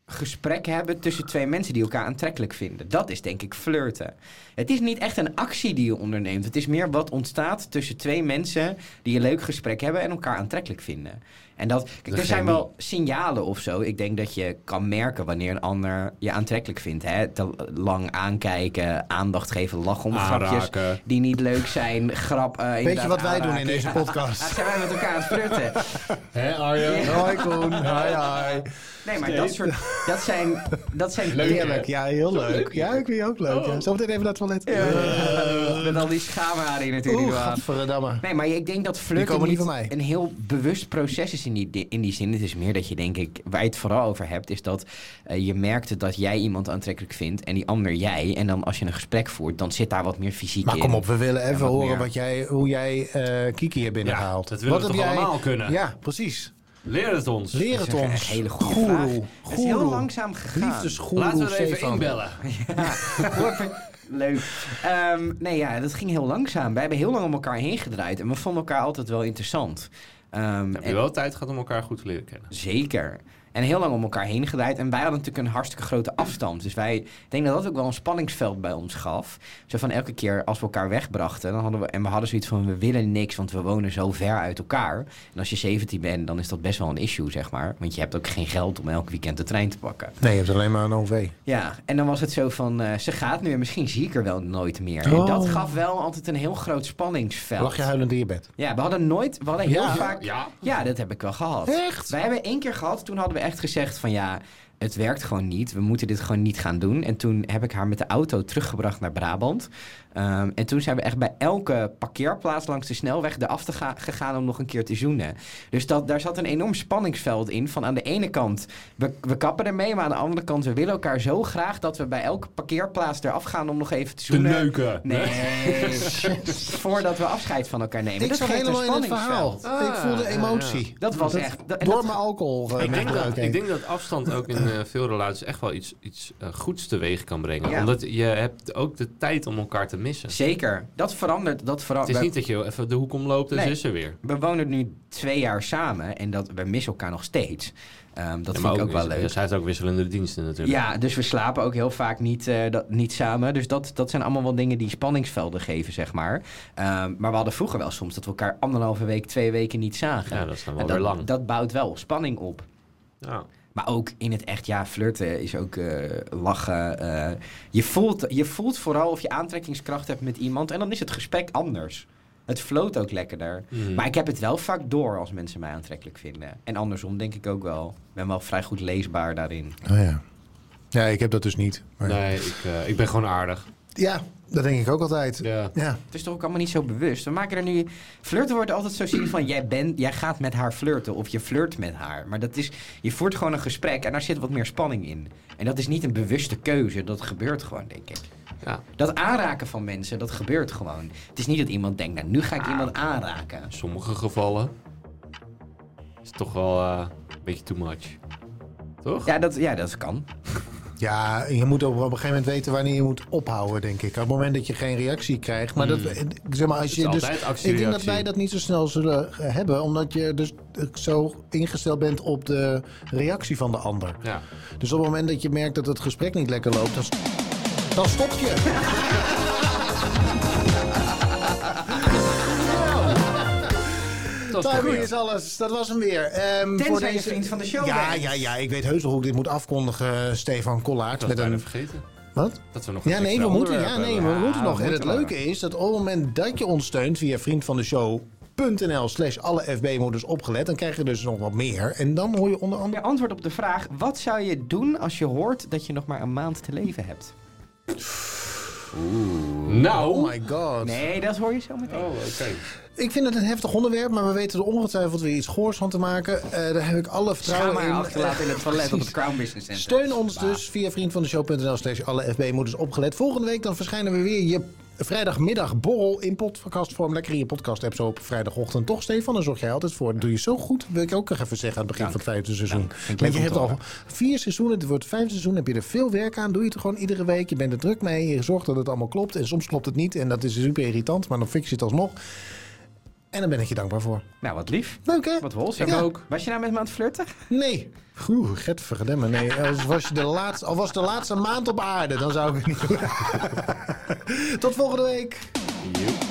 Speaker 1: gesprek hebben tussen twee mensen die elkaar aantrekkelijk vinden. Dat is denk ik flirten. Het is niet echt een actie die je onderneemt. Het is meer wat ontstaat tussen twee mensen die een leuk gesprek hebben en elkaar aantrekkelijk vinden. En dat, kijk, er
Speaker 2: chemie.
Speaker 1: zijn wel signalen of zo. Ik denk dat je kan merken wanneer een ander je aantrekkelijk vindt. Hè? Te lang aankijken, aandacht geven, lachen om grapjes
Speaker 2: Aanraken.
Speaker 1: die niet leuk zijn, grap. eh,
Speaker 3: Weet je
Speaker 1: inderdaad
Speaker 3: wat wij doen
Speaker 1: aanraken.
Speaker 3: in deze
Speaker 1: Ah,
Speaker 3: podcast?
Speaker 1: zijn wij met elkaar aan het flirten?
Speaker 2: Hé Arjen?
Speaker 3: Hoi Koen, hoi hoi.
Speaker 1: Nee, maar dat soort. Dat zijn. Dat zijn
Speaker 2: Leuk, hè?
Speaker 3: Heerlijk, ja, heel leuk. Ja, ik vind je ook leuk. Ja. Zometeen even naar het toilet.
Speaker 1: Ja, met al die schaamharen die natuurlijk.
Speaker 3: Oeh,
Speaker 1: wel aan.
Speaker 3: gadverdamme.
Speaker 1: Nee, maar ik denk dat
Speaker 3: Die
Speaker 1: flirten
Speaker 3: komen niet
Speaker 1: niet
Speaker 3: van mij.
Speaker 1: een heel bewust proces is in die, di- in die zin. Het is meer dat je, denk ik, waar je het vooral over hebt, is dat eh, je merkt dat jij iemand aantrekkelijk vindt en die ander jij. En dan als je een gesprek voert, dan zit daar wat meer fysiek
Speaker 3: Maar
Speaker 1: in.
Speaker 3: kom op, we willen even
Speaker 1: wat
Speaker 3: horen
Speaker 1: meer.
Speaker 3: wat jij, hoe jij eh, Kiki hebt binnengehaald.
Speaker 2: dat willen
Speaker 3: Wat
Speaker 2: we
Speaker 3: heb
Speaker 2: toch allemaal kunnen?
Speaker 3: Ja, precies.
Speaker 2: Leer het ons.
Speaker 3: Leer
Speaker 1: Dat
Speaker 3: het
Speaker 1: is een
Speaker 3: ons.
Speaker 1: hele goede
Speaker 3: Goeroe,
Speaker 1: vraag. Het is heel
Speaker 3: goeroe.
Speaker 1: langzaam gegaan.
Speaker 3: Liefdesgoeroe
Speaker 2: Laten we er even
Speaker 3: Stefan.
Speaker 2: inbellen.
Speaker 1: Leuk. Ehm, nee, ja, dat ging heel langzaam. We hebben heel lang om elkaar heen gedraaid. En we vonden elkaar altijd wel interessant. Ehm,
Speaker 2: Heb
Speaker 1: en-
Speaker 2: je wel tijd gehad om elkaar goed te leren kennen?
Speaker 1: Zeker. En heel lang om elkaar heen gedraaid. En wij hadden natuurlijk een hartstikke grote afstand. Dus wij ik denk dat dat ook wel een spanningsveld bij ons gaf. Zo van elke keer als we elkaar wegbrachten. Dan hadden we, en we hadden zoiets van: we willen niks, want we wonen zo ver uit elkaar. En als je 17 bent, dan is dat best wel een issue, zeg maar. Want je hebt ook geen geld om elk weekend de trein te pakken.
Speaker 3: Nee, je hebt alleen maar een OV.
Speaker 1: Ja, en dan was het zo van, eh, ze gaat nu en misschien zie ik er wel nooit meer. En
Speaker 3: Oh.
Speaker 1: dat gaf wel altijd een heel groot spanningsveld.
Speaker 3: Lag je huilend in je bed?
Speaker 1: Ja, we hadden nooit, we hadden heel
Speaker 3: Ja.
Speaker 1: vaak... Ja.
Speaker 2: Ja.
Speaker 1: dat heb ik wel gehad.
Speaker 3: Echt?
Speaker 1: Wij hebben één keer gehad, toen hadden we echt gezegd van ja, het werkt gewoon niet. We moeten dit gewoon niet gaan doen. En toen heb ik haar met de auto teruggebracht naar Brabant. Ehm, en toen zijn we echt bij elke parkeerplaats langs de snelweg eraf te ga- gegaan om nog een keer te zoenen. Dus dat, daar zat een enorm spanningsveld in. Van aan de ene kant, we, we kappen ermee. Maar aan de andere kant, we willen elkaar zo graag dat we bij elke parkeerplaats eraf gaan om nog even te
Speaker 2: Te
Speaker 1: zoenen.
Speaker 2: neuken.
Speaker 1: Nee, voordat we afscheid van elkaar nemen.
Speaker 3: ik
Speaker 1: dat
Speaker 3: zag
Speaker 1: geeft een
Speaker 3: helemaal in het verhaal.
Speaker 1: spanningsveld.
Speaker 3: ik
Speaker 2: Ah,
Speaker 3: voelde emotie.
Speaker 1: Dat was echt... dat- en
Speaker 3: Door
Speaker 1: dat-
Speaker 3: mijn alcohol. eh,
Speaker 2: Ik denk, dat,
Speaker 3: misbruik heen.
Speaker 2: ik denk dat afstand ook in eh, veel relaties echt wel iets, iets eh, goeds teweeg kan brengen.
Speaker 1: Ja.
Speaker 2: Omdat je hebt ook de tijd om elkaar te missen.
Speaker 1: Zeker. Dat verandert. Dat
Speaker 2: Het is
Speaker 1: verandert.
Speaker 2: niet dat je even de hoek omloopt en
Speaker 1: Oh, Nee.
Speaker 2: ze is er weer.
Speaker 1: We wonen nu twee jaar samen en dat, we missen elkaar nog steeds. Ehm, dat
Speaker 2: Ja, maar
Speaker 1: vind ik ook wel leuk.
Speaker 2: ja, Zij heeft ook wisselende diensten natuurlijk.
Speaker 1: Ja, dus we slapen ook heel vaak niet, eh, dat, niet samen. Dus dat, dat zijn allemaal wel dingen die spanningsvelden geven, zeg maar. Ehm, maar we hadden vroeger wel soms dat we elkaar anderhalve week, twee weken niet zagen.
Speaker 2: Ja, dat is dan wel
Speaker 1: En
Speaker 2: weer lang.
Speaker 1: dat, dat bouwt wel spanning op.
Speaker 2: Ja.
Speaker 1: Maar ook in het echt, ja, flirten is ook eh, lachen. eh. je, voelt, je voelt vooral of je aantrekkingskracht hebt met iemand. En dan is het gesprek anders. Het floot ook lekkerder.
Speaker 2: Mhm.
Speaker 1: Maar ik heb het wel vaak door als mensen mij aantrekkelijk vinden. En andersom denk ik ook wel. Ik ben wel vrij goed leesbaar daarin.
Speaker 3: Oh, ja. ja, ik heb dat dus niet. maar-
Speaker 2: Nee, ik, eh, ik ben gewoon aardig.
Speaker 3: Ja, dat denk ik ook altijd. Ja.
Speaker 2: Ja.
Speaker 1: Het is toch ook allemaal niet zo bewust. We maken er nu... Flirten wordt altijd zo zien van... Jij, bent, jij gaat met haar flirten of je flirt met haar. Maar dat is... Je voert gewoon een gesprek en daar zit wat meer spanning in. En dat is niet een bewuste keuze. Dat gebeurt gewoon, denk ik.
Speaker 2: ja.
Speaker 1: Dat aanraken van mensen, dat gebeurt gewoon. Het is niet dat iemand denkt, nou nu ga
Speaker 3: Ah.
Speaker 1: ik iemand aanraken.
Speaker 2: In sommige gevallen is het toch wel eh, een beetje too much. Toch?
Speaker 1: Ja, dat, ja, dat kan.
Speaker 3: Ja, je moet op, op een gegeven moment weten wanneer je moet ophouden, denk ik. Op het moment dat je geen reactie krijgt. Maar dat, eh, zeg maar, als
Speaker 2: Hmm. is
Speaker 3: je dus,
Speaker 2: altijd actie-reactie.
Speaker 3: ik denk dat wij dat niet zo snel zullen eh, hebben, omdat je dus eh, zo ingesteld bent op de reactie van de ander.
Speaker 2: Ja.
Speaker 3: Dus op het moment dat je merkt dat het gesprek niet lekker loopt, dan, dan stop je.
Speaker 2: Dat is
Speaker 3: Timing
Speaker 2: goed.
Speaker 3: is alles. Dat was hem weer. Ehm,
Speaker 1: Tenzij je vriend van de show
Speaker 3: Ja,
Speaker 1: bent.
Speaker 3: ja, ja. Ik weet heus wel hoe ik dit moet afkondigen, Stefan
Speaker 2: Dat
Speaker 3: Kollaert. Met
Speaker 2: was bijna
Speaker 3: een...
Speaker 2: vergeten.
Speaker 3: Wat?
Speaker 2: Dat we nog
Speaker 3: Ja,
Speaker 2: een
Speaker 3: nee,
Speaker 2: extra
Speaker 3: we moeten, ja,
Speaker 2: onderwerp
Speaker 3: nee,
Speaker 2: hebben.
Speaker 3: we moeten nog.
Speaker 1: we
Speaker 3: En het
Speaker 1: moeten nog.
Speaker 3: leuke is dat op het moment dat je ons steunt via vriendvandeshow.nl slash alle FB-moeders opgelet, dan krijg je dus nog wat meer. En dan hoor je onder
Speaker 1: Je
Speaker 3: andere...
Speaker 1: antwoord op de vraag, wat zou je doen als je hoort dat je nog maar een maand te leven hebt?
Speaker 2: Nou.
Speaker 3: Oh my god.
Speaker 1: Nee, dat hoor je zo meteen.
Speaker 2: Oh, oké.
Speaker 3: Ik vind het een heftig onderwerp, maar we weten er ongetwijfeld weer iets goors van te maken. Eh, daar heb ik alle
Speaker 1: Schaam
Speaker 3: vertrouwen
Speaker 1: maar
Speaker 3: Nou, in.
Speaker 1: achterlaten in het toilet op het Crown Business Center.
Speaker 3: Steun ons dus via vriendvandeshow.nl slash alle FB-moeders opgelet. Volgende week dan verschijnen we weer je vrijdagmiddag borrel in podcastvorm. Lekker in je podcast-app zo op vrijdagochtend. Toch, Stefan? Daar zorg jij altijd voor. Dat doe je zo goed. Wil ik ook nog even zeggen aan het begin
Speaker 1: Dank.
Speaker 3: van het vijfde seizoen.
Speaker 1: Dank. Vind ik
Speaker 3: Want
Speaker 1: leuk
Speaker 3: je
Speaker 1: om
Speaker 3: hebt
Speaker 1: te
Speaker 3: al
Speaker 1: horen.
Speaker 3: vier seizoenen. Het wordt het vijfde seizoen. Heb je er veel werk aan. Doe je het gewoon iedere week. Je bent er druk mee. Je zorgt dat het allemaal klopt. En soms klopt het niet. En dat is super irritant. Maar dan fix je het alsnog. En dan ben ik je dankbaar voor.
Speaker 1: Nou, wat lief.
Speaker 3: Leuk hè?
Speaker 1: Wat hols.
Speaker 3: Ja.
Speaker 1: ook. Was je nou met me aan het flirten?
Speaker 3: Nee. Oeh, getverdemme. Nee, als was je de laatste, al was het de laatste maand op aarde, dan zou ik het niet doen. Tot volgende week.
Speaker 2: Joep.